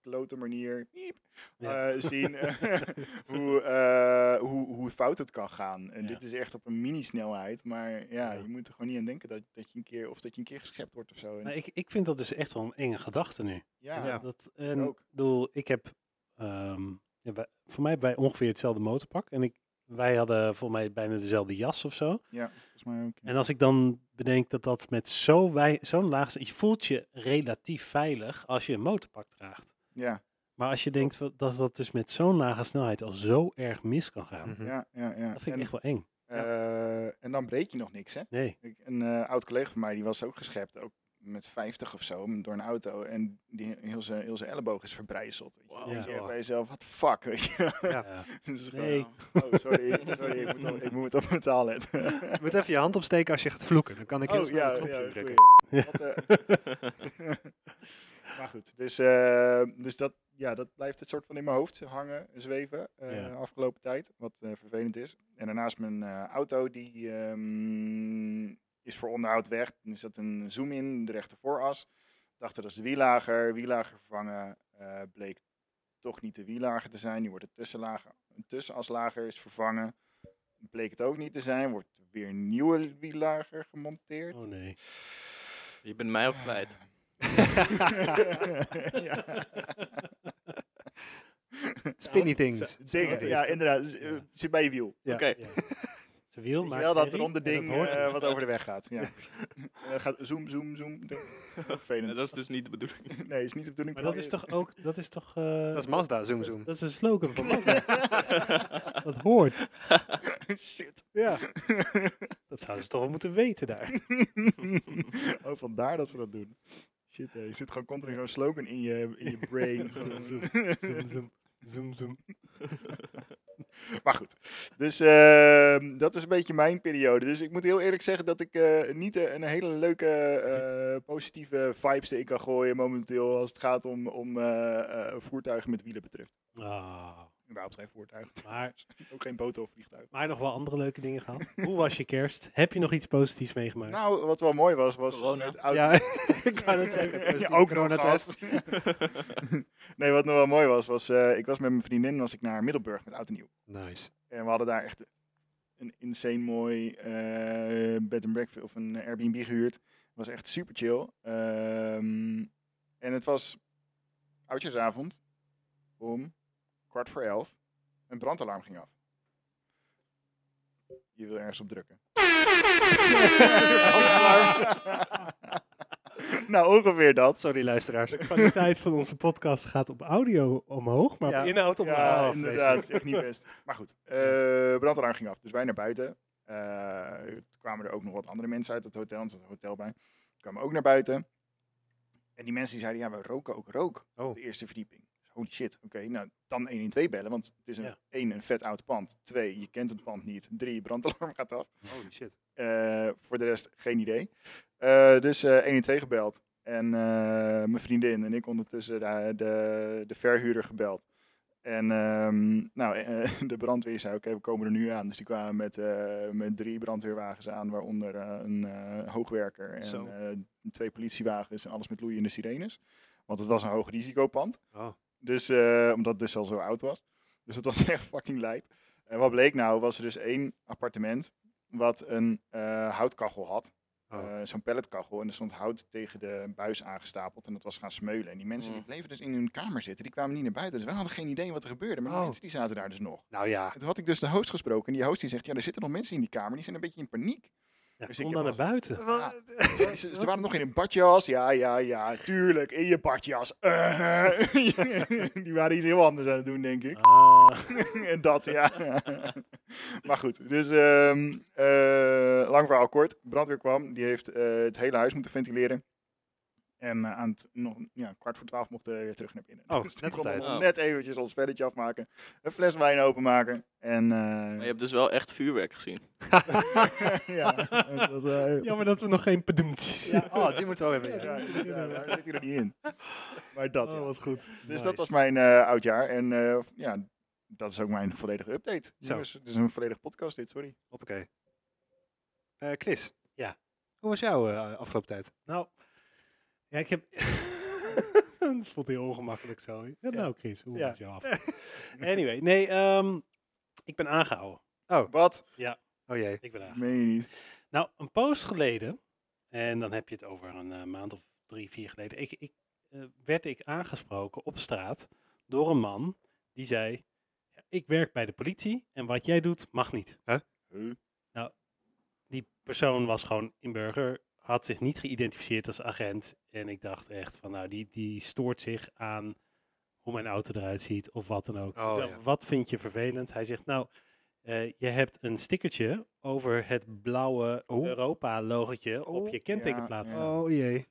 S4: klote manier piep,
S3: Ja.
S4: eh, zien eh, hoe, eh, hoe, hoe fout het kan gaan. En
S3: Ja.
S4: dit is echt op een mini-snelheid. Maar ja,
S5: Ja.
S4: je moet er gewoon niet aan denken dat, dat je een keer of dat je een keer geschept wordt of zo. En
S3: Nou, ik, ik vind dat dus echt wel een enge gedachte nu.
S4: ja,
S5: Ja.
S3: Dat, en
S4: ook.
S3: ik bedoel, ik heb, ehm, ja, wij- voor mij hebben wij ongeveer hetzelfde motorpak. En ik, wij hadden voor mij bijna dezelfde jas of zo.
S4: ja, volgens mij ook. ja.
S3: En als ik dan bedenk dat dat met zo wij- zo'n laag... Je voelt je relatief veilig als je een motorpak draagt.
S4: Ja,
S3: Maar als je denkt wat- dat dat dus met zo'n lage snelheid al zo erg mis kan gaan.
S5: Mhm.
S4: ja, ja, ja.
S3: Hm. Dat vind
S4: En,
S3: ik echt wel eng.
S4: eh, en dan breek je nog niks, hè?
S3: Nee.
S4: Ik- Een eh, oud collega van mij die was ook geschept, ook met 50 of zo, m- door een auto. En die, heel, zijn, heel zijn elleboog is verbrijzeld. Weet je,
S1: Wauw.
S3: Ja.
S4: Dan denk je echt bij jezelf, wat fuck, weet je.
S5: Ja.
S3: Ja.
S4: Dus gewoon,
S3: Nee.
S4: oh, sorry, sorry ik, moet op, ik moet op mijn taal letten.
S5: Je moet even je hand opsteken als je gaat vloeken. Dan kan ik heel
S4: Oh,
S5: snel
S4: ja,
S5: het knopje
S4: ja,
S5: indrukken.
S4: goeie. Dat, eh, maar goed, dus, eh, dus dat, ja, dat blijft het soort van in mijn hoofd hangen, zweven, eh,
S3: Ja.
S4: afgelopen tijd, wat eh, vervelend is. En daarnaast mijn eh, auto, die ehm, is voor onderhoud weg. Dan is dat een zoom in, de rechter vooras. Dachten dat is de wielager, wielager vervangen, eh, bleek toch niet de wielager te zijn. Die wordt de tussenlager, een tussenaslager is vervangen. Bleek het ook niet te zijn, wordt weer een nieuwe wielager gemonteerd.
S3: Oh nee.
S1: Je bent mij ook kwijt.
S4: ja.
S5: Spinny things.
S4: Zeker, ja, inderdaad. Z- eh, Zit bij je wiel.
S5: Ja.
S1: Oké.
S3: Ja. Ze wil
S4: Weet je
S3: maar.
S4: wel dat ronde ding
S3: Dat hoort
S4: eh,
S3: niet.
S4: wat over de weg gaat. Ja. Eh, gaat zoom, zoom, zoom. Vervelend.
S1: Dat is dus niet de bedoeling.
S4: Nee, is niet de bedoeling.
S3: maar dat is toch ook. Dat is toch. eh,
S5: Dat is Mazda, zoom
S3: dat is-
S5: zoom.
S3: dat is een slogan van Mazda. dat hoort.
S4: Shit.
S3: Ja. Dat zouden ze toch wel moeten weten daar.
S4: oh, vandaar dat ze dat doen. Shit, eh, je zit gewoon continu zo'n slogan in je, in je brain.
S3: Zoom, zoom, zoom, zoom, zoom, zoom.
S4: Maar goed, dus ehm, dat is een beetje mijn periode. Dus ik moet heel eerlijk zeggen dat ik eh, niet eh, een hele leuke, eh, positieve vibes in kan gooien momenteel als het gaat om, om eh, eh, voertuigen met wielen betreft.
S3: Ah,
S4: Überhaupt geen voertuigen,
S3: maar,
S4: ook geen boten of vliegtuigen.
S3: maar nog wel andere leuke dingen gehad. Hoe was je kerst? Heb je nog iets positiefs meegemaakt?
S4: Nou, wat wel mooi was, was
S1: Corona.
S4: het auto-
S5: Ja, ik kan het zeggen.
S4: Ja,
S5: positieve
S4: ook
S5: coronatest.
S4: coronatest. nee, wat nog wel mooi was, was eh, ik was met mijn vriendin was ik naar Middelburg met oud en nieuw.
S5: Nice.
S4: En we hadden daar echt een insane mooi eh, bed and breakfast of een Airbnb gehuurd. was echt super chill. Ehm, en het was oudjaarsavond om kwart voor elf. Een brandalarm ging af. Je wil ergens op drukken. nou, ongeveer dat.
S5: Sorry, luisteraars.
S3: De kwaliteit van onze podcast gaat op audio omhoog, maar
S5: Ja.
S3: op inhoud omlaag.
S4: Ja,
S5: Oh,
S4: inderdaad.
S5: vreselijk.
S4: is Echt niet best. Maar goed, eh brandalarm ging af. Dus wij naar buiten. Eh, toen kwamen er ook nog wat andere mensen uit het hotel. Er zat een hotel bij. Die kwamen ook naar buiten. En die mensen die zeiden, ja, we roken ook rook.
S5: Oh.
S4: Op de eerste verdieping. Dus Holy shit, oké. nou, dan 112 bellen, want het is een,
S3: Ja.
S4: één, een vet oud pand. Twee, je kent het pand niet. Drie, brandalarm gaat af.
S5: Holy shit.
S4: Eh, voor de rest geen idee. Eh, dus eh 112 gebeld. En eh, mijn vriendin en ik ondertussen de, de, de verhuurder gebeld. En ehm, nou, eh, de brandweer zei, oké, we komen er nu aan. Dus die kwamen met, eh, met drie brandweerwagens aan, waaronder eh, een eh, hoogwerker en
S5: Zo.
S4: eh, twee politiewagens en alles met loeiende sirenes. Want het was een hoog risicopand.
S5: Oh.
S4: Dus, eh, omdat het dus al zo oud was. Dus het was echt fucking lijp. En wat bleek nou, was er dus één appartement wat een eh, houtkachel had.
S5: Oh.
S4: Eh, Zo'n pelletkachel. En er stond hout tegen de buis aangestapeld. En dat was gaan smeulen. En die mensen die
S1: Mm.
S4: bleven dus in hun kamer zitten. Die kwamen niet naar buiten. Dus wij hadden geen idee wat er gebeurde. Maar die
S5: Oh.
S4: mensen die zaten daar dus nog.
S5: Nou ja.
S4: En toen had ik dus de host gesproken. En die host die zegt, ja, er zitten nog mensen in die kamer. Die zijn een beetje in paniek.
S3: Ja,
S4: Dus ik
S3: kom
S4: heb
S3: dan naar
S4: wel-
S3: buiten.
S4: Ja. Ze- Ze, waren nog in een badjas. Ja, ja, ja. Tuurlijk, in je badjas. Eh, die waren iets heel anders aan het doen, denk ik.
S3: Ah,
S4: en dat, ja. maar goed, dus ehm, eh, lang verhaal kort. Brandweer kwam, die heeft eh, het hele huis moeten ventileren. En eh, aan het nog, ja, kwart voor twaalf mochten we weer terug naar binnen. Dus
S5: Oh,
S4: die
S5: net op
S4: konden
S5: tijd.
S4: ons
S1: Oh.
S4: Net eventjes ons spelletje afmaken. Een fles wijn openmaken. En eh,
S1: Maar je hebt dus wel echt vuurwerk gezien.
S4: ja, het was, eh,
S3: jammer dat we nog geen pedoemts.
S5: Ja, oh, die moeten we wel hebben.
S4: Ja,
S5: Ja.
S4: ja, daar zit hij er niet in. Maar
S5: Oh,
S4: dat, ja.
S3: wat goed.
S4: Dus dat was mijn eh, oudjaar. En eh, ja, dat is ook mijn volledige update.
S5: Zo.
S4: Jongens, het is een volledige podcast dit, sorry.
S5: Hoppakee. Eh, Chris.
S3: Ja.
S5: Hoe was jouw eh, afgelopen tijd?
S3: Nou, ja, ik heb... dat voelt heel ongemakkelijk zo. Ja, Nou Chris, hoe
S5: Ja.
S3: gaat jou af? anyway, nee, ehm, ik ben aangehouden.
S4: Wat?
S5: Oh jee.
S3: Ik ben aangehouden.
S4: Meen je niet.
S3: Nou, een poos geleden, en dan heb je het over een eh, maand of drie, vier geleden, ik, ik, eh, werd ik aangesproken op straat door een man die zei, "Ja, ik werk bij de politie en wat jij doet mag niet.
S4: Huh?
S3: Die persoon was gewoon in burger, had zich niet geïdentificeerd als agent. En ik dacht echt van, nou, die, die stoort zich aan hoe mijn auto eruit ziet of wat dan ook.
S5: Oh,
S3: Wel,
S5: ja.
S3: Wat vind je vervelend? Hij zegt, nou, eh, je hebt een stickertje over het blauwe
S5: Oh.
S3: Europa-logotje op
S5: Oh,
S3: je kentekenplaat
S4: ja, ja.
S3: staan.
S5: Oh jee.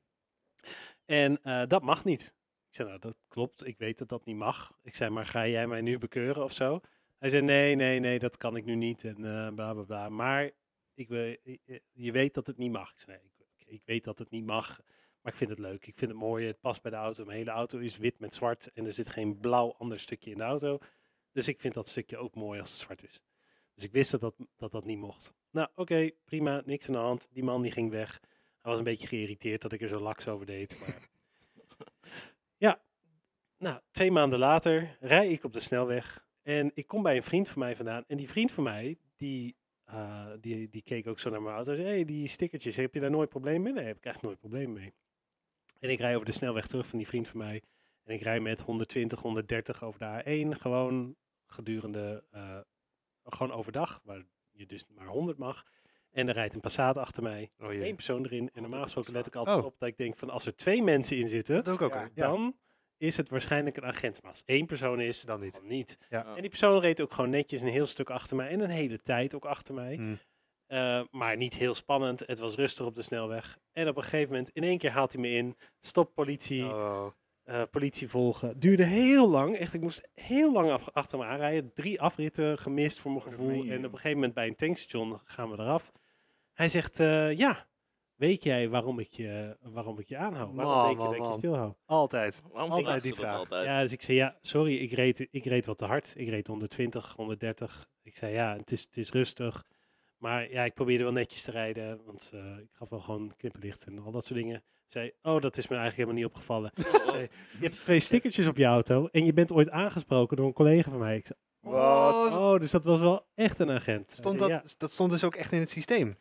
S3: En eh, dat mag niet. Ik zei, nou, dat klopt. Ik weet dat dat niet mag. Ik zei, maar ga jij mij nu bekeuren of zo? Hij zei, nee, nee, nee, dat kan ik nu niet. En eh bla, bla, bla. Maar ik, wil- je- je weet dat het niet mag. Ik zei, nee, ik, ik weet dat het niet mag. Maar ik vind het leuk. Ik vind het mooi. Het past bij de auto. Mijn hele auto is wit met zwart. En er zit geen blauw ander stukje in de auto. Dus ik vind dat stukje ook mooi als het zwart is. Dus ik wist dat dat, dat, dat niet mocht. Nou, oké, prima. Niks aan de hand. Die man die ging weg. Hij was een beetje geïrriteerd dat ik er zo laks over deed. Maar... ja, nou, twee maanden later rij ik op de snelweg. En ik kom bij een vriend van mij vandaan. En die vriend van mij, die, eh, die, die keek ook zo naar mijn auto. Hij zei, hey, die stickertjes, heb je daar nooit probleem mee? Nee, heb ik echt nooit probleem mee. En ik rij over de snelweg terug van die vriend van mij. En ik rij met 120, 130 over de A1. Gewoon gedurende, eh, gewoon overdag, waar je dus maar 100 mag. En er rijdt een Passat achter mij
S5: Oh jee.
S3: één persoon erin. En normaal gesproken let ik altijd
S5: Oh.
S3: op dat ik denk van als er twee mensen in zitten,
S5: Dat doe ik ook.
S4: Ja,
S5: hoor. Ja.
S3: dan is het waarschijnlijk een agent. Maar als één persoon is,
S5: Dan niet.
S3: dan niet.
S5: Ja.
S3: En die persoon reed ook gewoon netjes een heel stuk achter mij en een hele tijd ook achter mij.
S5: Hmm.
S3: Eh, maar niet heel spannend. Het was rustig op de snelweg. En op een gegeven moment, in één keer haalt hij me in. Stop politie,
S5: Oh.
S3: eh, politie volgen. Duurde heel lang. Echt, ik moest heel lang af- achter me aanrijden. Drie afritten gemist voor mijn
S4: Oh, dat
S3: gevoel.
S4: meen je,
S3: en op
S4: joh.
S3: een gegeven moment bij een tankstation gaan we eraf. Hij zegt, eh, ja, weet jij waarom ik je, waarom ik je aanhoud? Waarom
S5: Man,
S3: denk je
S5: Nou, man,
S3: dat ik
S5: man.
S3: je stilhoud?
S5: Altijd.
S1: Waarom
S5: Altijd
S1: vragen
S5: die
S1: ze dat
S5: vraag.
S1: Altijd?
S3: Ja, dus ik zei, ja, sorry, ik reed, ik reed wat te hard. Ik reed 120, 130. Ik zei, ja, het is, het is rustig. Maar ja, ik probeerde wel netjes te rijden, want eh, ik gaf wel gewoon knipperlicht en al dat soort dingen. Zei, oh, dat is me eigenlijk helemaal niet opgevallen.
S1: Oh, oh.
S3: Hey, je hebt twee stickertjes op je auto en je bent ooit aangesproken door een collega van mij. Ik zei,
S5: Wat?
S3: oh, dus dat was wel echt een agent. Hij
S5: Stond
S3: zei,
S5: dat, dat stond dus ook echt in het systeem.
S3: Ja,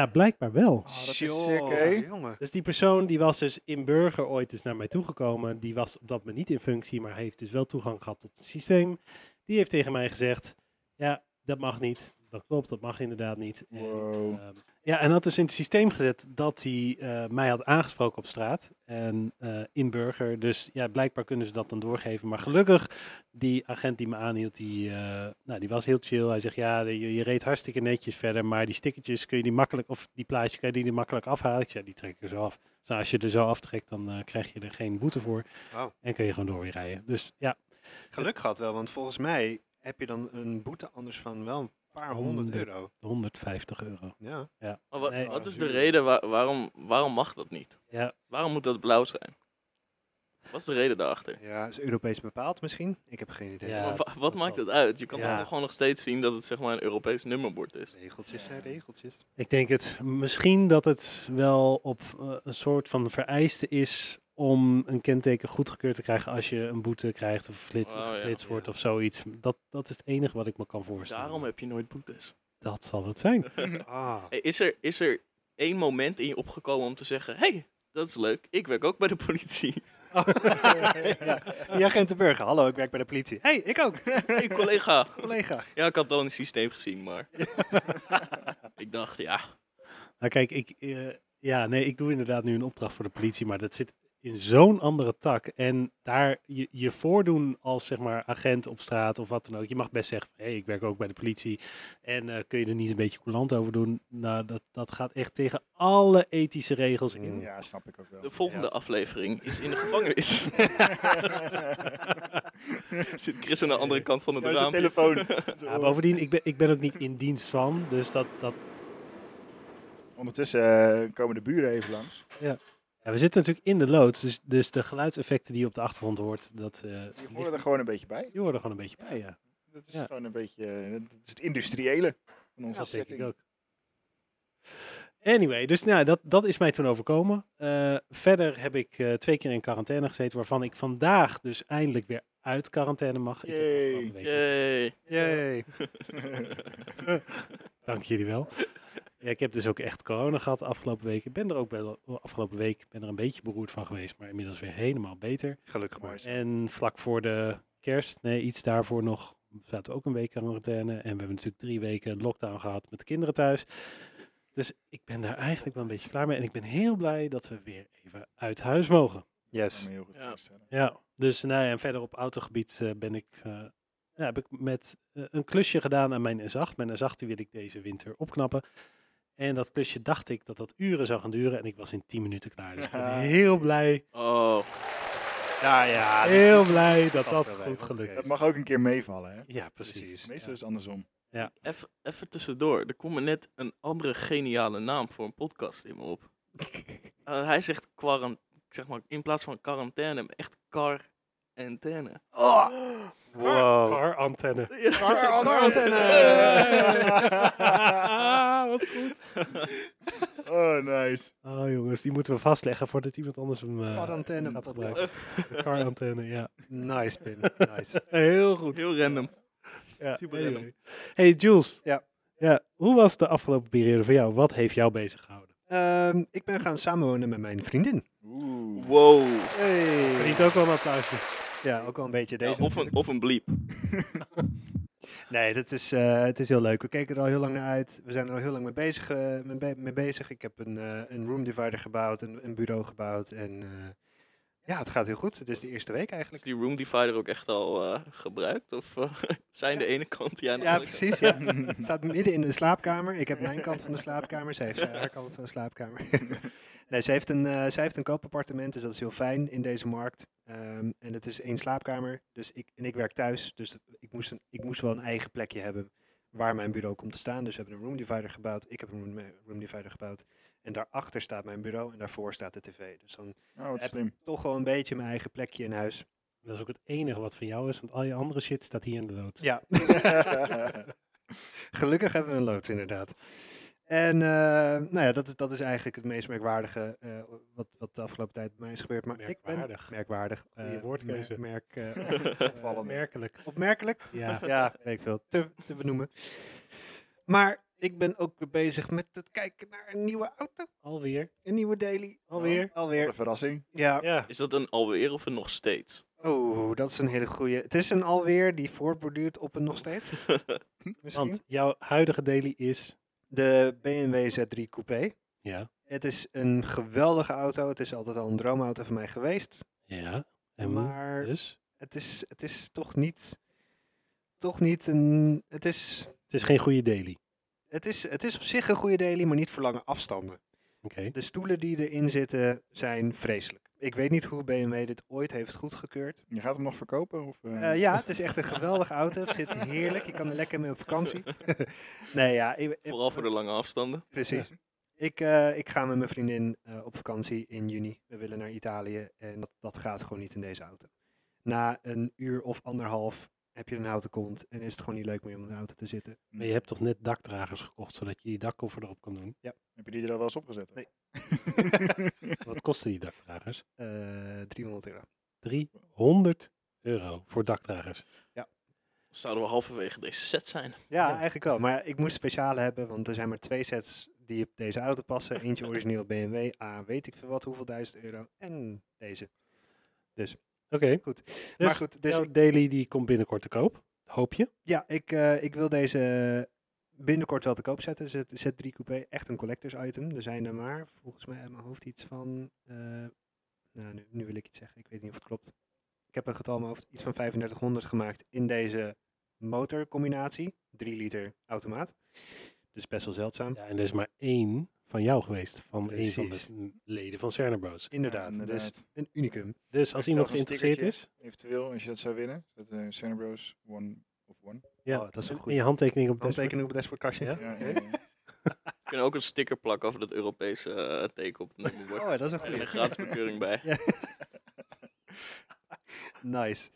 S3: ja, blijkbaar wel.
S4: Oh, dat is
S5: Tjoh,
S4: sick, hè?
S5: jongen.
S3: Dus die persoon die was dus in burger ooit dus naar mij toegekomen. Die was op dat moment niet in functie, maar heeft dus wel toegang gehad tot het systeem. Die heeft tegen mij gezegd, ja, dat mag niet. Dat klopt, dat mag inderdaad niet. En,
S4: Wow.
S3: ehm, ja, en had dus in het systeem gezet dat hij eh, mij had aangesproken op straat. En eh, in burger. Dus ja, blijkbaar kunnen ze dat dan doorgeven. Maar gelukkig, die agent die me aanhield, die, eh, nou, die was heel chill. Hij zegt, ja, je, je reed hartstikke netjes verder. Maar die stickertjes kun je die makkelijk, of die plaatjes kun je die er makkelijk afhalen. Ik zei, die trek ik er zo af. Dus nou, als je er zo aftrekt, dan eh, krijg je er geen boete voor.
S5: Wauw.
S3: En kun je gewoon door weer rijden. Dus ja,
S5: Geluk gehad wel, want volgens mij heb je dan een boete anders van wel een paar honderd
S3: Honderd.
S5: euro.
S3: 150 euro.
S5: Ja.
S1: Maar wa-
S3: Nee.
S1: wat is de reden waar- waarom, waarom mag dat niet?
S3: Ja,
S1: Waarom moet dat blauw zijn? Wat is de reden daarachter?
S5: Ja, is Europees bepaald misschien? Ik heb geen idee.
S3: Ja.
S1: Maar wa-
S3: dat-
S1: wat
S3: dat
S1: maakt
S3: zal-
S1: het uit? Je kan
S5: Ja.
S1: toch gewoon nog steeds zien dat het zeg maar een Europees nummerbord is.
S5: Regeltjes zijn regeltjes.
S3: Ik denk het misschien dat het wel op eh, een soort van vereiste is om een kenteken goedgekeurd te krijgen als je een boete krijgt of flits,
S1: Oh, ja.
S3: geflitst wordt
S5: Ja.
S3: of zoiets. Dat, dat is het enige wat ik me kan voorstellen.
S1: Daarom heb je nooit boetes.
S3: Dat zal het zijn.
S5: Ah.
S1: Hey, is, er, is er één moment in je opgekomen om te zeggen: hé, hey, dat is leuk, ik werk ook bij de politie.
S5: ja. Die agent de burger. Hallo, ik werk bij de politie. hey, ik ook.
S1: hey, collega.
S5: Collega.
S1: Ja, ik had het al in het systeem gezien, maar. ik dacht, ja.
S3: Nou, kijk, ik, eh, ja, nee, ik doe inderdaad nu een opdracht voor de politie, maar dat zit in zo'n andere tak. En daar je, je voordoen als zeg maar agent op straat of wat dan ook. Je mag best zeggen, hé, hey, ik werk ook bij de politie. En eh, kun je er niet een beetje coulant over doen? Nou, dat, dat gaat echt tegen alle ethische regels in.
S5: Mm.
S4: Ja, snap ik ook wel.
S1: De volgende
S5: Ja.
S1: aflevering is in de gevangenis. Zit Chris aan de andere kant van het
S4: Daar is een
S1: raam.
S4: telefoon.
S3: Ja, Nou, bovendien, ik ben, ik ben ook niet in dienst van, dus dat... dat
S4: Ondertussen eh, komen de buren even langs.
S3: ja, we zitten natuurlijk in de loods, dus, dus de geluidseffecten die je op de achtergrond hoort, dat, eh
S4: Die horen
S3: ligt-
S4: er gewoon een beetje bij.
S3: die horen er gewoon een beetje bij, ja.
S4: Dat is
S3: Ja.
S4: gewoon een beetje eh, dat is het industriële van onze
S3: dat denk
S4: setting.
S3: ik ook. Anyway, dus nou, dat, dat is mij toen overkomen. Eh, verder heb ik eh, twee keer in quarantaine gezeten, waarvan ik vandaag dus eindelijk weer uit quarantaine mag. Ik heb
S4: Yay.
S3: afgelopen week-
S1: Yay.
S5: Yay.
S3: Dank jullie wel. Ja, ik heb dus ook echt corona gehad de afgelopen week. Ik ben er ook wel afgelopen week ben er een beetje beroerd van geweest, maar inmiddels weer helemaal beter.
S5: Gelukkig
S4: Mooi.
S5: maar.
S3: En vlak voor de kerst, nee, iets daarvoor nog, zaten we ook een week quarantaine. En we hebben natuurlijk drie weken lockdown gehad met de kinderen thuis. Dus ik ben daar eigenlijk wel een beetje klaar mee. En ik ben heel blij dat we weer even uit huis mogen.
S5: Yes.
S4: heel goed
S1: Ja.
S4: voorstellen.
S3: Ja, dus nou ja, en verder op autogebied eh, ben ik, eh, ja, heb ik met eh, een klusje gedaan aan mijn S8. Mijn S8 die wil ik deze winter opknappen. En dat klusje dacht ik dat dat uren zou gaan duren. En ik was in 10 minuten klaar. Dus ik ben
S4: Ja.
S3: heel blij,
S1: Oh,
S5: Ja, ja. dit-
S3: heel blij dat
S5: past
S3: dat
S5: wel bij,
S3: goed
S5: hoor.
S3: gelukt
S5: Oké.
S3: is.
S4: Dat mag ook een keer meevallen, hè?
S3: Ja, precies.
S4: Meestal
S3: Ja.
S4: is het andersom.
S1: even- even tussendoor. Er komt me net een andere geniale naam voor een podcast in me op. Eh, hij zegt quarant, zeg maar, in plaats van quarantaine, echt quarantaine.
S5: Oh. Wow.
S3: Car antenne.
S5: Quarantaine.
S3: Wat goed.
S4: Oh, nice.
S3: Oh jongens, die moeten we vastleggen voordat iemand anders hem eh,
S5: Quarantaine
S3: gaat
S5: podcast.
S3: gebruiken. De car antenne, ja.
S5: Nice, Pim. Nice.
S3: Heel goed.
S1: Heel random.
S3: Ja,
S1: Super
S3: anyway.
S1: random.
S3: Hey Jules.
S5: Ja.
S3: ja. Hoe was de afgelopen periode voor jou? Wat heeft jou bezig gehouden?
S5: Ehm, ik ben gaan samenwonen met mijn vriendin.
S4: Oeh.
S1: Wow.
S5: Hey.
S3: Verdient ook wel een applausje.
S5: Ja, ook wel een beetje
S1: Ja,
S5: deze.
S1: of, een, of een bleep.
S5: Nee, dat is, eh, het is heel leuk. We keken er al heel lang naar uit. We zijn er al heel lang mee bezig. eh, mee, be- mee bezig. Ik heb een, eh, een room divider gebouwd, een, een bureau gebouwd. En eh, ja, het gaat heel goed. Het is de eerste week
S1: Is
S5: eigenlijk.
S1: die room divider ook echt al eh, gebruikt? Of eh, zijn de ene kant ja en de
S5: Ja,
S1: andere kant?
S5: precies. Ja. Het staat midden in de slaapkamer. Ik heb mijn kant van de slaapkamer. Zij heeft eh, haar kant van de slaapkamer. nee, zij heeft, een, eh, zij heeft een koopappartement, dus dat is heel fijn in deze markt. Ehm, en het is één slaapkamer. Dus ik, en ik werk thuis, dus ik moest, een, ik moest wel een eigen plekje hebben waar mijn bureau komt te staan. Dus we hebben een room divider gebouwd. Ik heb een room, eh, room divider gebouwd. En daarachter staat mijn bureau en daarvoor staat de tv. Dus dan
S4: Oh, wat
S5: Heb-
S4: slim.
S5: toch wel een beetje mijn eigen plekje in huis.
S3: Dat is ook het enige wat van jou is, want al je andere shit staat hier in de lood.
S5: Ja. Gelukkig hebben we een loods, inderdaad. En eh, nou ja, dat is, dat is eigenlijk het meest merkwaardige eh, wat, wat de afgelopen tijd bij mij is gebeurd. Maar ik
S3: Merkwaardig.
S5: ben merkwaardig. eh,
S3: Goeie woordkeuze.
S5: mer- Merk, eh,
S4: Opvallend.
S3: Merkelijk.
S5: opmerkelijk.
S3: Ja.
S5: Ja, weet ik veel. Te, te benoemen. Maar ik ben ook weer bezig met het kijken naar een nieuwe auto.
S3: Alweer.
S5: Een nieuwe daily.
S3: Alweer.
S4: Wat
S5: Alweer.
S4: een verrassing.
S5: Ja.
S3: Ja.
S1: Is dat een alweer of een nog steeds?
S5: Oh, dat is een hele goeie. Het is een alweer die voortborduurt op een nog steeds. Misschien.
S3: Want jouw huidige daily is...
S5: De BMW Z3 Coupé.
S3: Ja.
S5: Het is een geweldige auto. Het is altijd al een droomauto van mij geweest.
S3: Ja. En
S5: maar
S3: dus?
S5: het, is, het is toch niet. Toch niet een. Het is,
S3: Het is geen goede daily.
S5: het, is, het is op zich een goede daily, maar niet voor lange afstanden.
S3: Oké.
S5: De stoelen die erin zitten zijn vreselijk. Ik weet niet hoe BMW dit ooit heeft goedgekeurd.
S4: Je gaat hem nog verkopen? Of, eh?
S5: Eh, ja, het is echt een geweldige auto. Het zit heerlijk. Je kan er lekker mee op vakantie. nee, ja. eh. ik- ik-
S1: Vooral voor de lange afstanden.
S5: Precies. Ik, eh, ik ga met mijn vriendin eh, op vakantie in juni. We willen naar Italië en dat, dat gaat gewoon niet in deze auto. Na een uur of anderhalf heb je een houten kont en is het gewoon niet leuk meer om in de auto te zitten.
S3: Maar je hebt toch net dakdragers gekocht, zodat je die dakkoffer erop kan doen?
S4: Heb je die er al wel eens opgezet?
S5: Nee.
S3: Wat kosten die dakdragers?
S5: Eh 300 euro.
S3: 300 euro voor dakdragers.
S1: Zouden we halverwege deze set zijn?
S5: Ja,
S3: Ja.
S5: eigenlijk wel. Maar ik moest speciale hebben, want er zijn maar twee sets die op deze auto passen. Eentje origineel BMW, A weet ik veel wat, hoeveel duizend euro. En deze.
S3: Oké.
S5: Goed.
S3: Dus
S5: maar goed, dus
S3: jouw daily die komt binnenkort te koop. Hoop je?
S5: Ja, ik, eh, ik wil deze binnenkort wel te koop zetten. Z- Z3 Coupé, echt een collectors item. Er zijn er maar, volgens mij uit mijn hoofd, iets van... eh, nou, nu, nu wil ik iets zeggen. Ik weet niet of het klopt. Ik heb een getal in mijn hoofd, iets van 3500 gemaakt in deze motorcombinatie. 3 liter automaat. Dus best wel zeldzaam.
S3: Ja, en er is maar één van jou geweest. Van één van
S5: Precies.
S3: de leden van Cerner Bros.
S5: Inderdaad,
S4: Ja,
S5: dus een unicum.
S3: Dus als
S4: Ik
S3: iemand
S4: zag een
S3: geïnteresseerd is,
S4: Eventueel, als je dat zou winnen. Dat eh Cerebros One of One.
S3: Ja.
S5: Oh, dat is een
S3: in
S5: goede
S3: je handtekening op het dashboard.
S5: handtekening op het
S3: Ja?
S5: dashboardkastje.
S4: Ja, ja, ja.
S1: We kunnen ook een sticker plakken over dat Europese eh, teken op het nummerbord.
S5: Oh, dat is een
S1: En
S5: goede.
S1: een gratis bekeuring bij.
S5: Nice.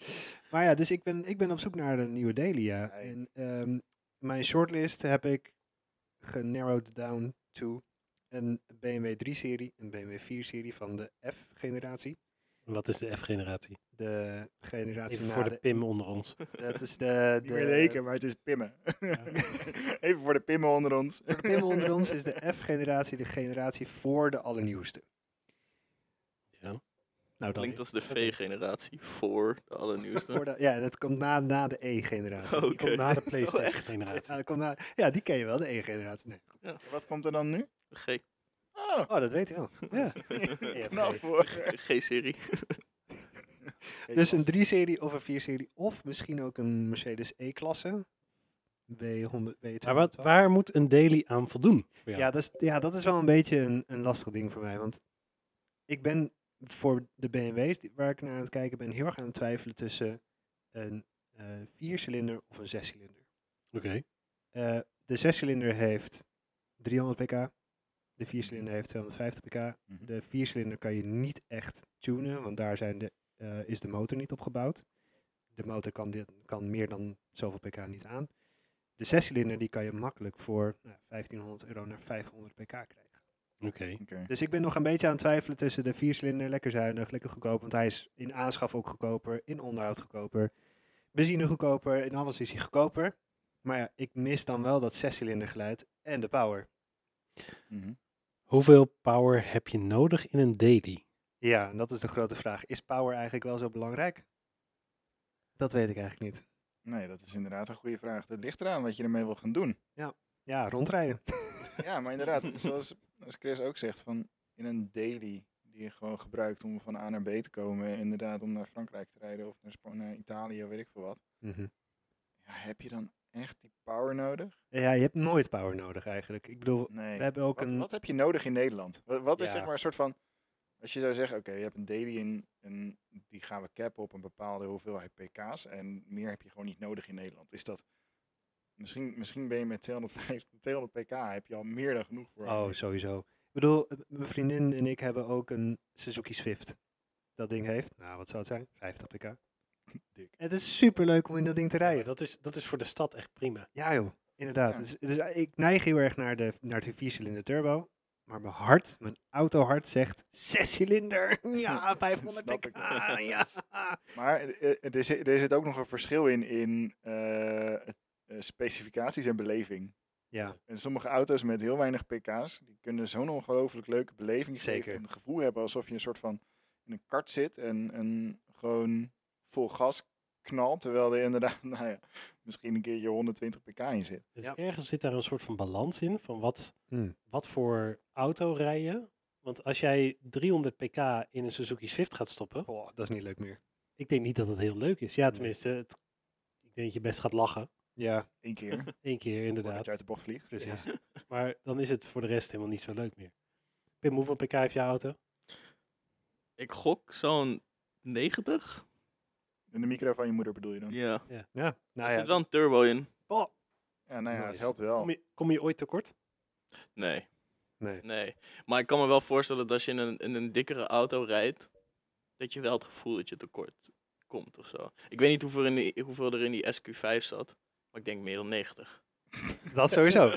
S5: Maar ja, dus ik ben, ik ben op zoek naar een nieuwe daily, ja.
S4: Hey.
S5: En ehm, mijn shortlist heb ik genarrowed down to eh, een BMW 3-serie, een BMW 4-serie van de F-generatie.
S3: Wat is de F-generatie?
S5: De generatie
S3: Even
S5: na
S3: voor de Pim onder ons.
S5: de- Dat is de...
S4: Niet
S5: de
S4: meer zeker, maar het is pimmen. Even voor de pimmen onder ons.
S5: Voor de pimmel onder ons is de F-generatie de generatie voor de allernieuwste.
S3: Ja.
S5: Nou, dat
S1: Klinkt als de V-generatie voor de
S5: voor
S1: allernieuwste.
S5: de, ja, dat komt na, na de E-generatie.
S1: Oké.
S3: Komt na de
S1: Oh, echt?
S5: Ja,
S3: PlayStation-generatie.
S5: dat komt na, ja, die ken je wel, de E-generatie. Nee.
S4: Wat komt er dan nu?
S1: G. Nou,
S4: Oh,
S5: Oh, dat weet je wel.
S3: Ja.
S4: knap hoor.
S1: G-serie.
S5: Dus een 3-serie of een 4-serie, of misschien ook een Mercedes E-klasse. W100, W200.
S3: Maar wat, waar moet een daily aan voldoen? voor jou?
S5: Ja, dat is, ja, dat is wel een beetje een, een lastig ding voor mij. Want ik ben voor de BMW's die- waar ik naar aan het kijken ben, heel erg aan het twijfelen tussen een eh viercilinder of een zescilinder.
S3: Oké.
S5: Eh, de zescilinder heeft 300 pk. De viercilinder heeft 250 pk.
S4: Mhm.
S5: De viercilinder kan je niet echt tunen, want daar zijn de, eh, is de motor niet op gebouwd. De motor kan, dit, kan meer dan zoveel pk niet aan. De zescilinder die kan je makkelijk voor nou, 1500 euro naar 500 pk krijgen.
S3: Oké.
S4: Oké.
S5: Dus ik ben nog een beetje aan het twijfelen tussen de viercilinder, lekker zuinig, lekker goedkoop. Want hij is in aanschaf ook goedkoper, in onderhoud goedkoper, benzine goedkoper, in alles is hij goedkoper. Maar ja, ik mis dan wel dat zescilinder geluid en de power.
S4: Mhm.
S3: Hoeveel power heb je nodig in een daily?
S5: Ja, en dat is de grote vraag. Is power eigenlijk wel zo belangrijk? Dat weet ik eigenlijk niet.
S4: Nee, dat is inderdaad een goede vraag. Het ligt eraan wat je ermee wil gaan doen.
S5: Ja, rondrijden.
S4: Ja, maar inderdaad, zoals als Chris ook zegt, van in een daily die je gewoon gebruikt om van A naar B te komen, inderdaad om naar Frankrijk te rijden of naar, Spa- naar Italië, weet ik veel wat. Ja, heb je dan echt die power nodig?
S5: Ja, je hebt nooit power nodig eigenlijk. Ik bedoel,
S4: Nee.
S5: we hebben ook
S4: Wat,
S5: een...
S4: wat heb je nodig in Nederland? Wat, wat is
S5: Ja.
S4: zeg maar een soort van. Als je zou zeggen, oké, je hebt een daily in en die gaan we cappen op een bepaalde hoeveelheid pk's. En meer heb je gewoon niet nodig in Nederland. Is dat. Misschien, misschien ben je met 250, 200 pk heb je al meer dan genoeg voor.
S5: Oh, sowieso. Ik bedoel, eh, mijn vriendin en ik hebben ook een Suzuki Swift. Dat ding heeft, nou wat zou het zijn? 50 pk.
S4: Dik.
S5: Het is super leuk om in dat ding te rijden.
S3: dat, is, dat is voor de stad echt prima.
S5: Ja joh, inderdaad.
S4: Ja.
S5: Dus, dus eh, ik neig heel erg naar de, naar de viercilinder turbo. Maar mijn hart, mijn autohart zegt zescilinder. Ja, 500
S4: Snap
S5: pk.
S4: ik.
S5: Ja.
S4: Maar eh, eh, er zit, er zit ook nog een verschil in, in eh, eh, specificaties en beleving.
S5: ja,
S4: En sommige auto's met heel weinig pk's, die kunnen zo'n ongelooflijk leuke beleving geven
S5: Zeker.
S4: En het gevoel hebben alsof je een soort van in een kart zit en, en gewoon vol gas knalt. Terwijl er inderdaad, nou ja, misschien een keertje 120 pk in zit.
S3: Dus
S5: Ja.
S3: ergens zit daar een soort van balans in van wat,
S5: Hmm.
S3: wat voor auto rij je. Want als jij 300 pk in een Suzuki Swift gaat stoppen,
S5: Goh, dat is niet leuk meer.
S3: ik denk niet dat het heel leuk is. Ja, tenminste, het, ik denk dat je best gaat lachen.
S5: Ja,
S4: Eén keer, voordat
S3: Eén keer
S4: je uit
S3: inderdaad.
S4: de bocht vliegt.
S5: precies.
S3: Maar dan is het voor de rest helemaal niet zo leuk meer. Pim, hoeveel pk heeft je auto?
S1: Ik gok zo'n 90.
S4: En de micro van je moeder bedoel je dan? Ja,
S1: Ja.
S5: Ja, nou
S1: er
S5: ja.
S1: zit wel een turbo in.
S5: Oh,
S4: nou ja, het
S5: Nice.
S4: helpt wel.
S3: Kom je, kom je ooit tekort?
S1: Nee,
S5: nee.
S1: nee. Maar ik kan me wel voorstellen dat als je in een, in een dikkere auto rijdt, dat je wel het gevoel dat je tekort komt of zo. Ik weet niet hoeveel, in die, hoeveel er in die SQ5 zat, maar ik denk meer dan 90.
S5: Dat sowieso.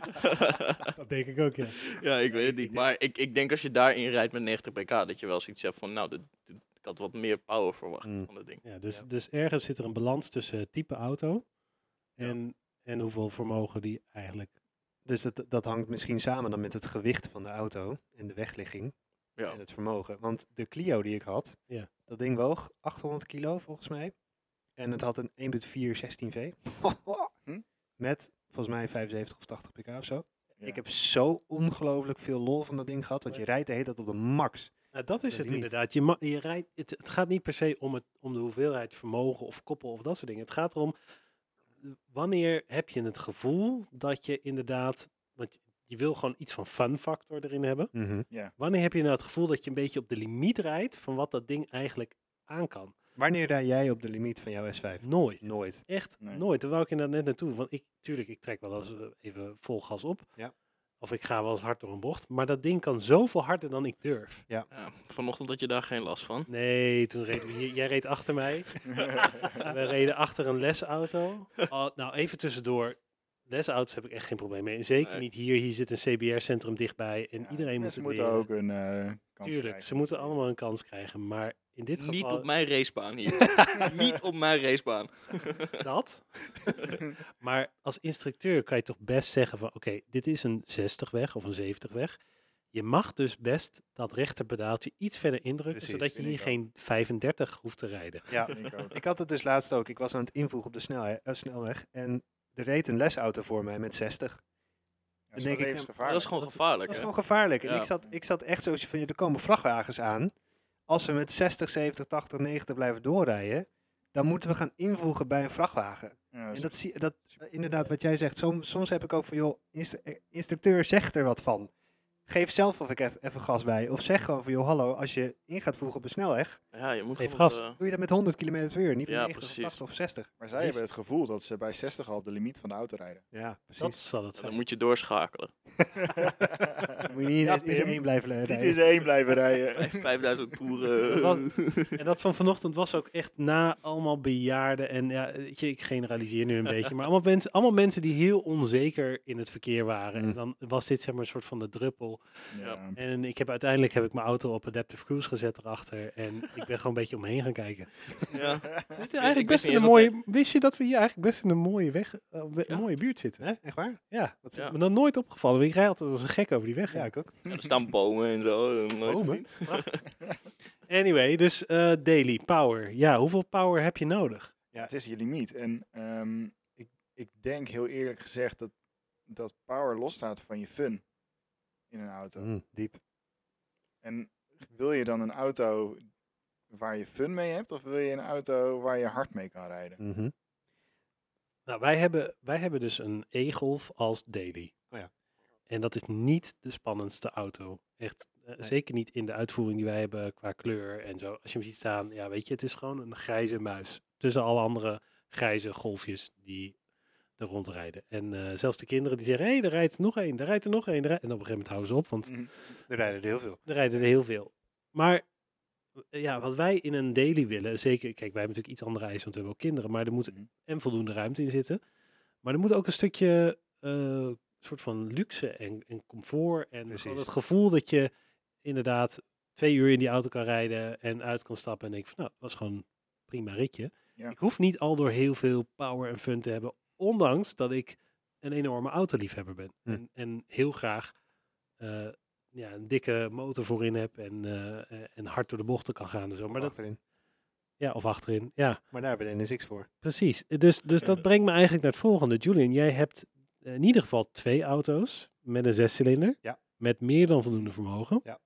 S3: Dat denk ik ook, ja.
S1: ja, ik weet het niet. Maar ik, ik denk als je daarin rijdt met 90 pk, dat je wel zoiets hebt van, nou, dit, dit- ik had wat meer power verwacht
S5: Mm.
S1: van dat ding.
S3: ja dus, dus ergens zit er een balans tussen het type auto en, en hoeveel vermogen die eigenlijk...
S5: Dus dat, dat hangt misschien samen dan met het gewicht van de auto en de wegligging
S1: Ja.
S5: en het vermogen. Want de Clio die ik had,
S3: Ja.
S5: dat ding woog 800 kilo volgens mij. En het had een 1.4 16V.
S4: Hm?
S5: Met volgens mij 75 of 80 pk of zo.
S4: Ja.
S5: Ik heb zo ongelooflijk veel lol van dat ding gehad, want je rijdt de hele tijd op de max.
S3: Nou, dat is
S5: Dat
S3: het
S5: niet.
S3: inderdaad. Je, ma- je rijdt, het, het gaat niet per se om, het, om de hoeveelheid vermogen of koppel of dat soort dingen. Het gaat erom, eh, wanneer heb je het gevoel dat je inderdaad... Want je wil gewoon iets van fun factor erin hebben. Wanneer heb je nou het gevoel dat je een beetje op de limiet rijdt van wat dat ding eigenlijk aan kan?
S5: Wanneer rijd jij op de limiet van jouw S5?
S3: Nooit.
S5: Nooit.
S3: Echt
S4: Nee.
S3: nooit. Daar wou ik inderdaad net naartoe. Want ik, tuurlijk, ik trek wel eens eh, even vol gas op.
S5: Ja.
S3: Of ik ga wel eens hard door een bocht. Maar dat ding kan zoveel harder dan ik durf.
S1: Ja, vanochtend had je daar geen last van.
S3: Nee, toen reed j- jij reed achter mij. We reden achter een lesauto. Oh, nou, even tussendoor. lesauto's heb ik echt geen probleem mee. En zeker
S1: Nee.
S3: niet hier. Hier zit een CBR-centrum dichtbij en
S4: Ja,
S3: iedereen moet
S4: mensen
S3: het
S4: moeten
S3: leren.
S4: ook een eh kans
S3: Tuurlijk,
S4: krijgen.
S3: ze moeten allemaal een kans krijgen. Maar in dit geval...
S1: Niet op mijn racebaan hier. niet op mijn racebaan.
S3: dat. maar als instructeur kan je toch best zeggen van oké, dit is een 60 weg of een 70 weg. Je mag dus best dat rechterpedaaltje iets verder indrukken,
S5: Precies,
S3: zodat je
S5: vind
S3: hier
S5: ik
S3: geen 35 hoeft te rijden.
S5: Ja,
S4: Ik ook.
S5: ik had het dus laatst ook. Ik was aan het invoegen op de snelhe- eh, snelweg en er reed een lesauto voor mij met 60.
S4: Dat is
S5: denk
S4: wel
S5: ik,
S1: Maar
S5: ja,
S4: levensgevaarlijk.
S1: dat is gewoon gevaarlijk.
S5: Dat is
S1: hè?
S5: gewoon gevaarlijk. En
S1: Ja.
S5: ik, zat, ik zat echt zo van, ja, er komen vrachtwagens aan. Als we met 60, 70, 80, 90 blijven doorrijden, dan moeten we gaan invoegen bij een vrachtwagen.
S4: Ja,
S5: En
S4: dat
S5: dat zie dat eh, inderdaad wat jij zegt. Som- soms heb ik ook van, joh, inst- eh, instructeur zegt er wat van. Geef zelf of ik eff- even gas bij. Of zeg gewoon van, joh, hallo, als je in gaat voegen op een snelweg,
S1: Ja, je moet
S3: Geef
S1: gewoon,
S3: gas.
S1: eh,
S5: doe je dat met 100 km per uur, niet met
S1: Ja,
S5: 90
S1: precies.
S5: of 80 of 60.
S4: Maar zij hebben het gevoel dat ze bij 60 al op de limiet van de auto rijden.
S5: Ja, precies.
S3: Dat zal het
S1: dan
S3: zijn.
S1: moet je doorschakelen.
S5: Dan moet je niet
S4: Ja,
S5: eens in zijn
S4: Pim.
S5: één blijven eh, rijden.
S4: Dit is één blijven rijden.
S1: 5000
S3: Dat
S1: toeren.
S3: was- en dat van vanochtend was ook echt na allemaal bejaarden. En ja, weet je, ik generaliseer nu een beetje. Maar allemaal mensen, allemaal mensen die heel onzeker in het verkeer waren. En
S5: Mm.
S3: dan was dit zeg maar een soort van de druppel.
S4: Ja.
S3: En ik heb uiteindelijk heb ik mijn auto op Adaptive Cruise gezet erachter. En ik ben gewoon een beetje omheen gaan kijken.
S1: Ja.
S3: We zitten
S1: ik
S3: eigenlijk
S1: wist niet
S3: best in
S1: eens
S3: een
S1: dat
S3: mooie. Wist je dat we hier eigenlijk best in een mooie weg, eh, we-
S1: Ja.
S3: mooie buurt zitten?
S5: Hè? Echt waar?
S3: Ja.
S5: Wat
S1: Ja.
S5: ja.
S3: Me dan nooit opgevallen. want Ik rijd altijd als een gek over die weg.
S5: ja, ik ook.
S1: Ja, er staan bomen en zo. eh, nooit
S5: Bomen?
S1: gezien.
S3: Anyway, dus eh, daily power. Ja, hoeveel power heb je nodig?
S4: Het is je limiet. En ehm, ik, ik denk heel eerlijk gezegd dat, dat power losstaat van je fun in een auto.
S5: Mm, diep.
S4: En wil je dan een auto waar je fun mee hebt? Of wil je een auto waar je hard mee kan rijden?
S5: Mhm.
S3: Nou, wij hebben, wij hebben dus een E-Golf als daily.
S5: Oh ja.
S3: En dat is niet de spannendste auto. Echt, eh,
S5: Nee.
S3: zeker niet in de uitvoering die wij hebben qua kleur en zo. Als je hem ziet staan, ja, weet je, het is gewoon een grijze muis. Tussen alle andere grijze golfjes die er rondrijden. En eh, zelfs de kinderen die zeggen, hé, hey, er rijdt nog één, er rijdt er nog één. er rijdt- En op een gegeven moment houden ze op, want
S5: Er rijden er heel veel.
S3: er rijden er heel veel. Maar eh, ja, wat wij in een daily willen, zeker, kijk, wij hebben natuurlijk iets andere eisen, want we hebben ook kinderen, maar er moet
S4: Mhm.
S3: en voldoende ruimte in zitten. Maar er moet ook een stukje eh, soort van luxe en, en comfort en gewoon
S5: Precies.
S3: het gevoel dat je inderdaad twee uur in die auto kan rijden en uit kan stappen en denk van, nou, dat was gewoon een prima ritje.
S4: Ja.
S3: Ik hoef niet al door heel veel power en fun te hebben, ondanks dat ik een enorme autoliefhebber ben
S5: Hm.
S3: en, en heel graag eh, ja, een dikke motor voorin heb en, eh, eh, en hard door de bochten kan gaan en zo. Maar
S5: Maar,
S3: dat, ja, of achterin. Ja,
S5: maar daar hebben we de NSX voor.
S3: precies. Eh, Dus, dus dat brengt me eigenlijk naar het volgende. Julian, jij hebt eh, in ieder geval twee auto's met een zescilinder.
S5: Ja.
S3: Met meer dan voldoende vermogen.
S5: Ja.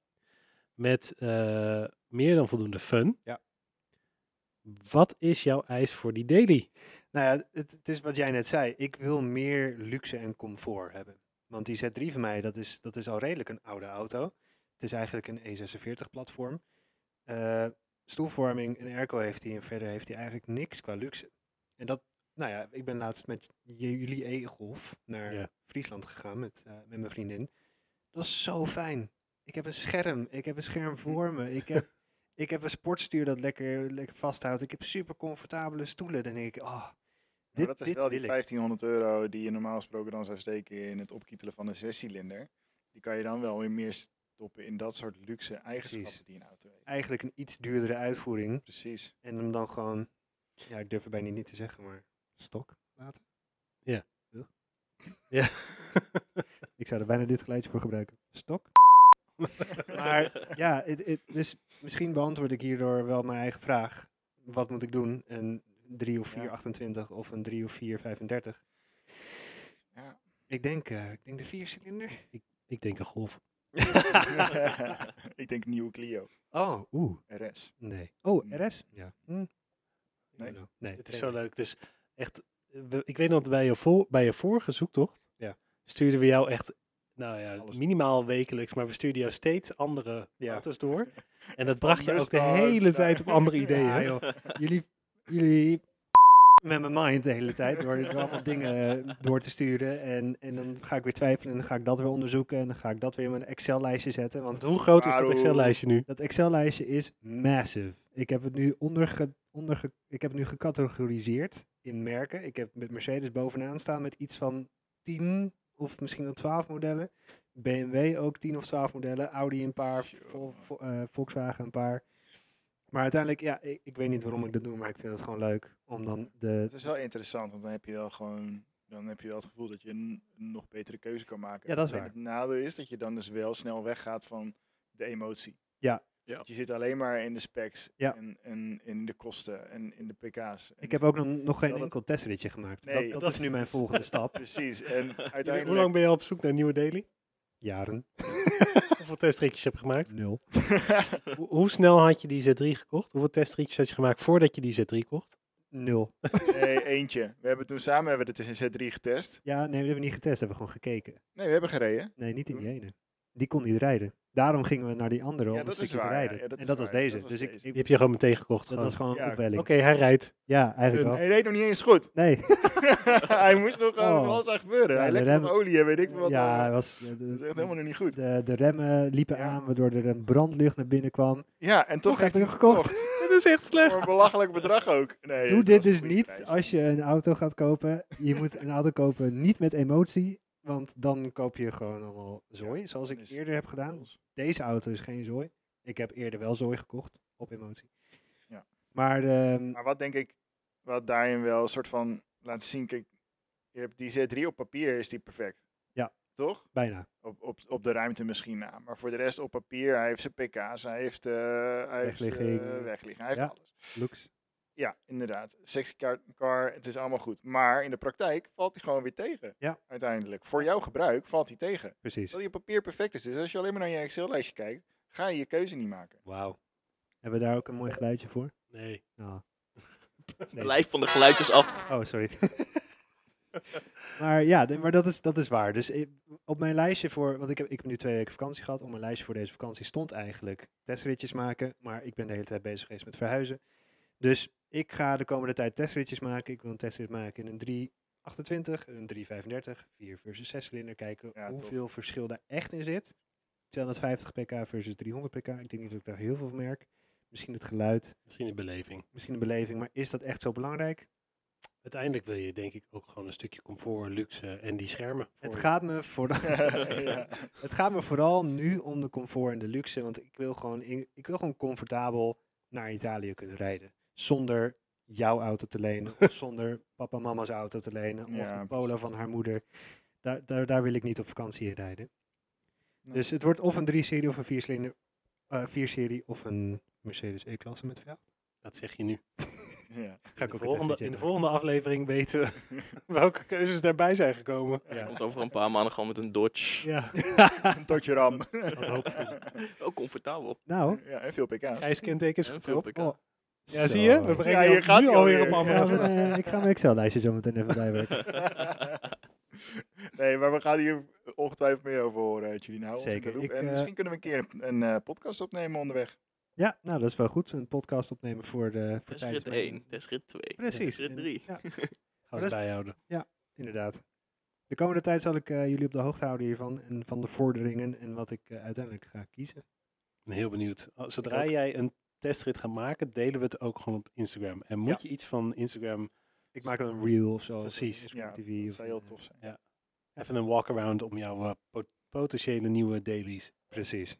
S3: Met eh, meer dan voldoende fun.
S5: Ja.
S3: Wat is jouw eis voor die daily?
S5: Nou ja, het, het is wat jij net zei. Ik wil meer luxe en comfort hebben. Want die Z3 van mij, dat is, dat is al redelijk een oude auto. Het is eigenlijk een E E46-platform. stoelvorming Eh, en airco heeft hij en verder heeft hij eigenlijk niks qua luxe. En dat, nou ja, ik ben laatst met j- jullie E-golf naar
S3: Ja.
S5: Friesland gegaan met, eh, met mijn vriendin. Dat was zo fijn. Ik heb een scherm. Ik heb een scherm voor me. Ik heb, ik heb een sportstuur dat lekker, lekker vasthoudt. Ik heb super comfortabele stoelen. Dan denk ik, oh,
S4: Maar
S5: dit,
S4: dat is
S5: dit
S4: wel die
S5: wil ik.
S4: 1500 euro die je normaal gesproken dan zou steken in het opkietelen van een zescilinder. Die kan je dan wel weer meer stoppen in dat soort luxe eigenschappen
S5: Precies.
S4: die een auto heeft.
S5: Eigenlijk een iets duurdere uitvoering.
S4: Precies.
S5: En hem dan gewoon, ja, ik durf er bijna niet te zeggen, maar stok laten.
S3: Ja.
S5: Ugh.
S3: Ja.
S5: ik zou er bijna dit geluidje voor gebruiken. Stok. Maar ja, het, het, dus misschien beantwoord ik hierdoor wel mijn eigen vraag. Wat moet ik doen? Een 3 of 4,
S4: Ja.
S5: 28 of een 3 of 4, 35?
S4: Ja.
S5: Ik denk, eh, ik denk de viercilinder.
S3: Ik denk een golf.
S4: ik denk nieuwe Clio
S5: oh, oeh,
S4: RS.
S5: nee. Oh,
S4: Hmm.
S5: RS? Ja. Hm.
S4: Nee.
S5: Nou, nee.
S3: Het is
S5: nee,
S3: zo
S5: nee.
S3: leuk. Dus echt, eh, we- ik weet nog dat bij je, voor, bij je vorige zoektocht
S5: Ja.
S3: stuurden we jou echt, nou ja,
S4: Alles.
S3: minimaal wekelijks, maar we stuurden jou steeds andere
S5: Ja.
S3: auto's door. En dat bracht je ook de
S4: Mustangs
S3: hele
S4: naar-
S3: tijd op andere
S4: Ja,
S3: ideeën.
S5: Ja, joh. Jullie, jullie met mijn mind de hele tijd door door allemaal dingen eh, door te sturen. En, en dan ga ik weer twijfelen en dan ga ik dat weer onderzoeken. En dan ga ik dat weer in mijn Excel-lijstje zetten. Want
S3: Want hoe groot is dat
S4: Waarom?
S3: Excel-lijstje nu?
S5: dat Excel-lijstje is massive. Ik heb het nu, onderge, onderge, ik heb het nu gecategoriseerd in merken. Ik heb met Mercedes bovenaan staan met iets van 10 of misschien wel 12 modellen. BMW ook 10 of 12 modellen. Audi een paar,
S4: Zo.
S5: Vol- Vo- eh, Volkswagen een paar. Maar uiteindelijk, ja, ik, ik weet niet waarom ik dat doe, maar ik vind het gewoon leuk om dan de...
S4: Het is wel interessant, want dan heb je wel gewoon... Dan heb je wel het gevoel dat je een een nog betere keuze kan maken.
S5: Ja, dat is
S4: Alleen
S5: waar.
S4: Het nadeel is dat je dan dus wel snel weggaat van de emotie.
S5: Ja.
S1: Ja.
S4: Want Je zit alleen maar in de specs
S5: Ja.
S4: en, en in de kosten en in de pk's. En
S5: Ik heb ook nog, nog geen
S4: Dat het-
S5: enkel testritje gemaakt.
S4: Nee,
S5: dat, dat,
S4: dat-
S5: is nu mijn volgende stap.
S4: Precies. En uiteindelijk...
S3: Hoe lang ben je al op zoek naar nieuwe daily?
S5: Jaren.
S3: Hoeveel testritjes heb je gemaakt?
S5: Nul.
S3: Hoe, hoe snel had je die Z3 gekocht? Hoeveel testritjes had je gemaakt voordat je die Z3 kocht?
S5: Nul.
S4: Nee, eentje. We hebben toen samen hebben we de TCZ3 getest.
S5: Ja, nee, we hebben niet getest, we hebben gewoon gekeken.
S4: Nee, we hebben gereden.
S5: Nee, niet in die ene. Die kon niet rijden. Daarom gingen we naar die andere
S4: Hm?
S5: om
S4: Ja,
S5: een
S4: dat is
S5: stukje te
S4: waar, ja.
S5: rijden.
S4: Ja, dat
S5: en
S4: is
S5: dat was
S4: waar, dat
S5: deze.
S4: was
S5: dus ik,
S4: deze.
S5: ik-
S3: Die heb je gewoon meteen gekocht.
S5: dat
S3: gewoon.
S5: was gewoon een
S4: Ja,
S3: Oké,
S5: opwelling.
S3: hij rijdt.
S5: Ja, eigenlijk wel.
S4: Hij reed nog niet eens goed.
S5: Nee.
S4: hij moest nog gewoon
S5: Oh.
S4: van alles aan gebeuren.
S5: Ja,
S4: hij
S5: de
S4: lekte
S5: rem-
S4: van olie en weet ik veel wat.
S5: ja,
S4: allemaal.
S5: hij was, de,
S4: dat is echt
S5: de,
S4: helemaal nog niet goed.
S5: de, de remmen liepen
S4: Ja.
S5: aan, waardoor er een brandlucht naar binnen kwam.
S4: Ja, en toch
S5: Toch heb
S4: heeft
S5: ik
S4: hij
S5: hem gekocht.
S3: Dat is echt slecht.
S4: Voor een belachelijk bedrag ook. Nee,
S5: Doe
S4: het
S5: dit
S4: was een
S5: dus
S4: goede
S5: niet
S4: prijs.
S5: als je een auto gaat kopen. Je moet een auto kopen niet met emotie, want dan koop je gewoon allemaal zooi. Zoals
S4: dan
S5: ik
S4: is-
S5: eerder heb gedaan. Deze auto is geen zooi. Ik heb eerder wel zooi gekocht, op emotie.
S4: Ja.
S5: Maar ehm,
S4: Maar wat denk ik, wat daarin wel een soort van laat zien. Kijk, je hebt die Z3 op papier is die perfect.
S5: Ja.
S4: Toch?
S5: bijna.
S4: Op, op, op de ruimte misschien na. Maar voor de rest op papier, hij heeft zijn pk's, hij heeft, eh hij heeft, eh,
S5: Wegligging.
S4: wegligging, hij heeft
S5: Ja.
S4: alles.
S5: Looks.
S4: Ja, inderdaad. Sexy car, car, het is allemaal goed. Maar in de praktijk valt hij gewoon weer tegen.
S5: Ja.
S4: Uiteindelijk. Voor jouw gebruik valt hij tegen.
S5: Precies.
S4: Dat je papier perfect is. Dus als je alleen maar naar je Excel-lijstje kijkt, ga je je keuze niet maken.
S5: Wauw. Hebben we daar ook een mooi geluidje voor?
S3: Nee.
S5: Ah. Nee.
S1: Blijf van de geluidjes af.
S5: Oh, sorry. maar ja, nee, maar dat is, dat is waar. Dus ik- op mijn lijstje voor, want ik heb, ik heb nu twee weken vakantie gehad. Op mijn lijstje voor deze vakantie stond eigenlijk testritjes maken. Maar ik ben de hele tijd bezig geweest met verhuizen. Dus ik ga de komende tijd testritjes maken. Ik wil een testrit maken in een 328, een 335, 4 versus 6 cilinder. Kijken
S4: Ja,
S5: hoeveel verschil daar echt in zit. 250 pk versus 300 pk. Ik denk niet dat ik daar heel veel van merk. Misschien het geluid,
S3: Misschien een beleving.
S5: misschien de beleving. Maar is dat echt zo belangrijk?
S3: Uiteindelijk wil je denk ik ook gewoon een stukje comfort, luxe en die schermen.
S5: Het
S3: voor-
S5: gaat me vooral...
S4: ja.
S5: Het gaat me vooral nu om de comfort en de luxe. Want ik wil gewoon, in- ik wil gewoon comfortabel naar Italië kunnen rijden. Zonder jouw auto te lenen. of zonder papa en mama's auto te lenen. of
S4: Ja,
S5: de polo
S4: precies.
S5: van haar moeder. Daar, daar, daar wil ik niet op vakantie in rijden.
S4: Nee.
S5: Dus het wordt of een 3-serie of een 4-serie serie of een Mercedes E-klasse met V8.
S3: Dat zeg je nu.
S4: Ja.
S5: Ga ik
S3: De
S5: ook
S3: volgende,
S5: een
S3: in de volgende aflevering weten we welke keuzes daarbij zijn gekomen.
S5: volgende.
S1: Komt over een paar maanden gewoon met een Dodge.
S3: Ja,
S4: Een totje ram.
S3: dat hoop ik.
S1: Ook Oh, comfortabel.
S5: Nou,
S4: Ja, en veel pk's.
S3: ijskentekens
S1: En veel
S3: verkocht.
S1: pk.
S5: Oh.
S3: Ja,
S5: zo.
S3: zie je? We
S4: Ja,
S3: brengen
S4: hier
S3: je
S4: gaat
S3: nu
S4: hij
S3: alweer
S4: alweer.
S3: op
S5: Ik ga,
S3: andere...
S5: mijn, eh, ik ga mijn Excel-lijstje zo meteen even bijwerken.
S4: nee, maar we gaan hier ongetwijfeld meer over horen uit jullie. Nou,
S5: Zeker. Ik,
S4: en
S5: eh,
S4: misschien kunnen we een keer een eh, podcast opnemen onderweg.
S5: Ja, nou dat is wel goed. Een podcast opnemen voor, de, voor tijdens
S1: Testrit
S5: mijn-
S1: 1, testrit 2.
S5: Precies.
S1: Testrit
S5: En-
S1: 3.
S5: Ja,
S3: Gaan we bijhouden.
S5: inderdaad. De komende tijd zal ik eh, jullie op de hoogte houden hiervan en van de vorderingen en wat ik eh, uiteindelijk ga kiezen.
S3: Ik ben heel benieuwd. Al- Zodra
S5: ook.
S3: jij een testrit gaat maken, delen we het ook gewoon op Instagram. En moet je iets van Instagram,
S5: Ik maak dan een reel of zo. eh,
S3: Precies.
S5: Of een
S4: Ja,
S5: Instagram TV.
S4: dat
S5: of
S4: zou heel
S5: een,
S4: tof zijn.
S3: even een walkaround om jouw eh, pot- potentiële nieuwe dailies.
S5: Precies.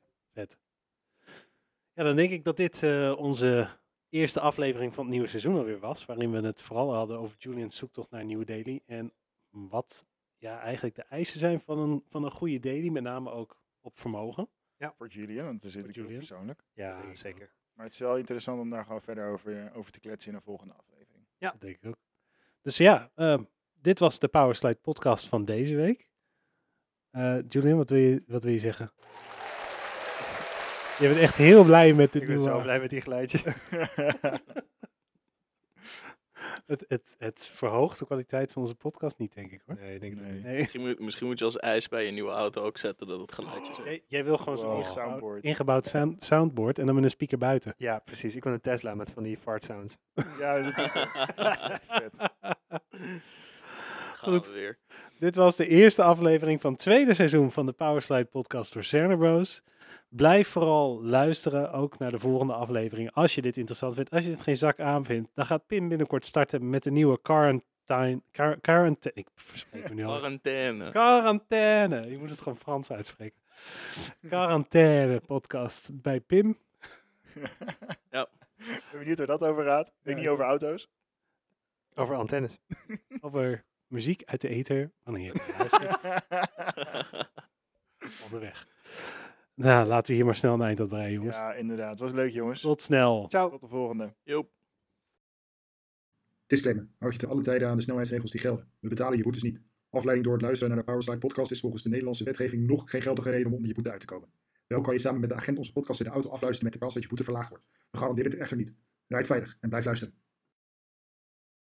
S3: Ja, dan denk ik dat dit eh, onze eerste aflevering van het nieuwe seizoen alweer was. Waarin we het vooral hadden over Julian's zoektocht naar een nieuwe daily. En wat ja, eigenlijk de eisen zijn van een, van een goede daily, met name ook op vermogen.
S4: Voor Julian, want daar zit
S3: Voor
S4: ik ook
S3: Julian.
S4: persoonlijk.
S5: Ja,
S3: Zeker.
S5: zeker.
S4: Maar het is wel interessant om daar gewoon verder over, eh, over te kletsen in een volgende aflevering.
S3: Dat denk ik ook. Dus ja, ehm, dit was de Powerslide podcast van deze week. Eh, Julian, wat wil, je, wat wil je zeggen? Je bent echt heel blij met dit
S5: Ik ben
S3: nieuwe...
S4: eh,
S5: zo blij met die geluidjes.
S3: Het, het, het verhoogt de kwaliteit van onze podcast niet, denk ik hoor.
S5: Nee, ik denk het ook
S4: Nee.
S5: niet.
S3: Nee.
S1: Misschien moet, misschien moet je als ijs bij je nieuwe auto ook zetten dat het geluidjes heeft.
S3: Jij, jij wil gewoon zo'n
S4: Wow.
S3: ingebouwd-
S4: Soundboard.
S3: ingebouwd sound- soundboard en dan met een speaker buiten.
S5: Ja, precies. Ik wil een Tesla met van die fart sounds.
S4: ja, dat is echt vet.
S1: Gaan
S3: Goed.
S1: we weer.
S3: Dit was de eerste aflevering van het tweede seizoen van de Powerslide podcast door Cerner Bros. Blijf vooral luisteren, ook naar de volgende aflevering. Als je dit interessant vindt, als je dit geen zak aan vindt, dan gaat Pim binnenkort starten met de nieuwe Car and quarantine. quar- Quarantaine. Ik verspreek me nu al.
S1: Quarantaine.
S3: Quarantaine. Je moet het gewoon Frans uitspreken. Quarantaine podcast bij Pim.
S6: Ik ben benieuwd waar dat over gaat. Ik denk
S3: Ja,
S6: niet over auto's.
S5: Over antennes.
S3: Over muziek uit de ether. Oh Wanneer je het luistert, onderweg. Nou, laten we hier maar snel een eind aan breien, jongens.
S6: ja, inderdaad. Het was leuk, jongens.
S3: Tot snel.
S5: Ciao.
S6: Tot de volgende.
S1: Joep.
S4: Disclaimer. Houd je te alle tijden aan de snelheidsregels die gelden. We betalen je boetes niet. Afleiding door het luisteren naar de Powerslide podcast is volgens de Nederlandse wetgeving nog geen geldige reden om onder je boete uit te komen. Wel kan je samen met de agent onze podcast in de auto afluisteren met de kans dat je boete verlaagd wordt. We garanderen dit echter niet. Rijd veilig en blijf luisteren.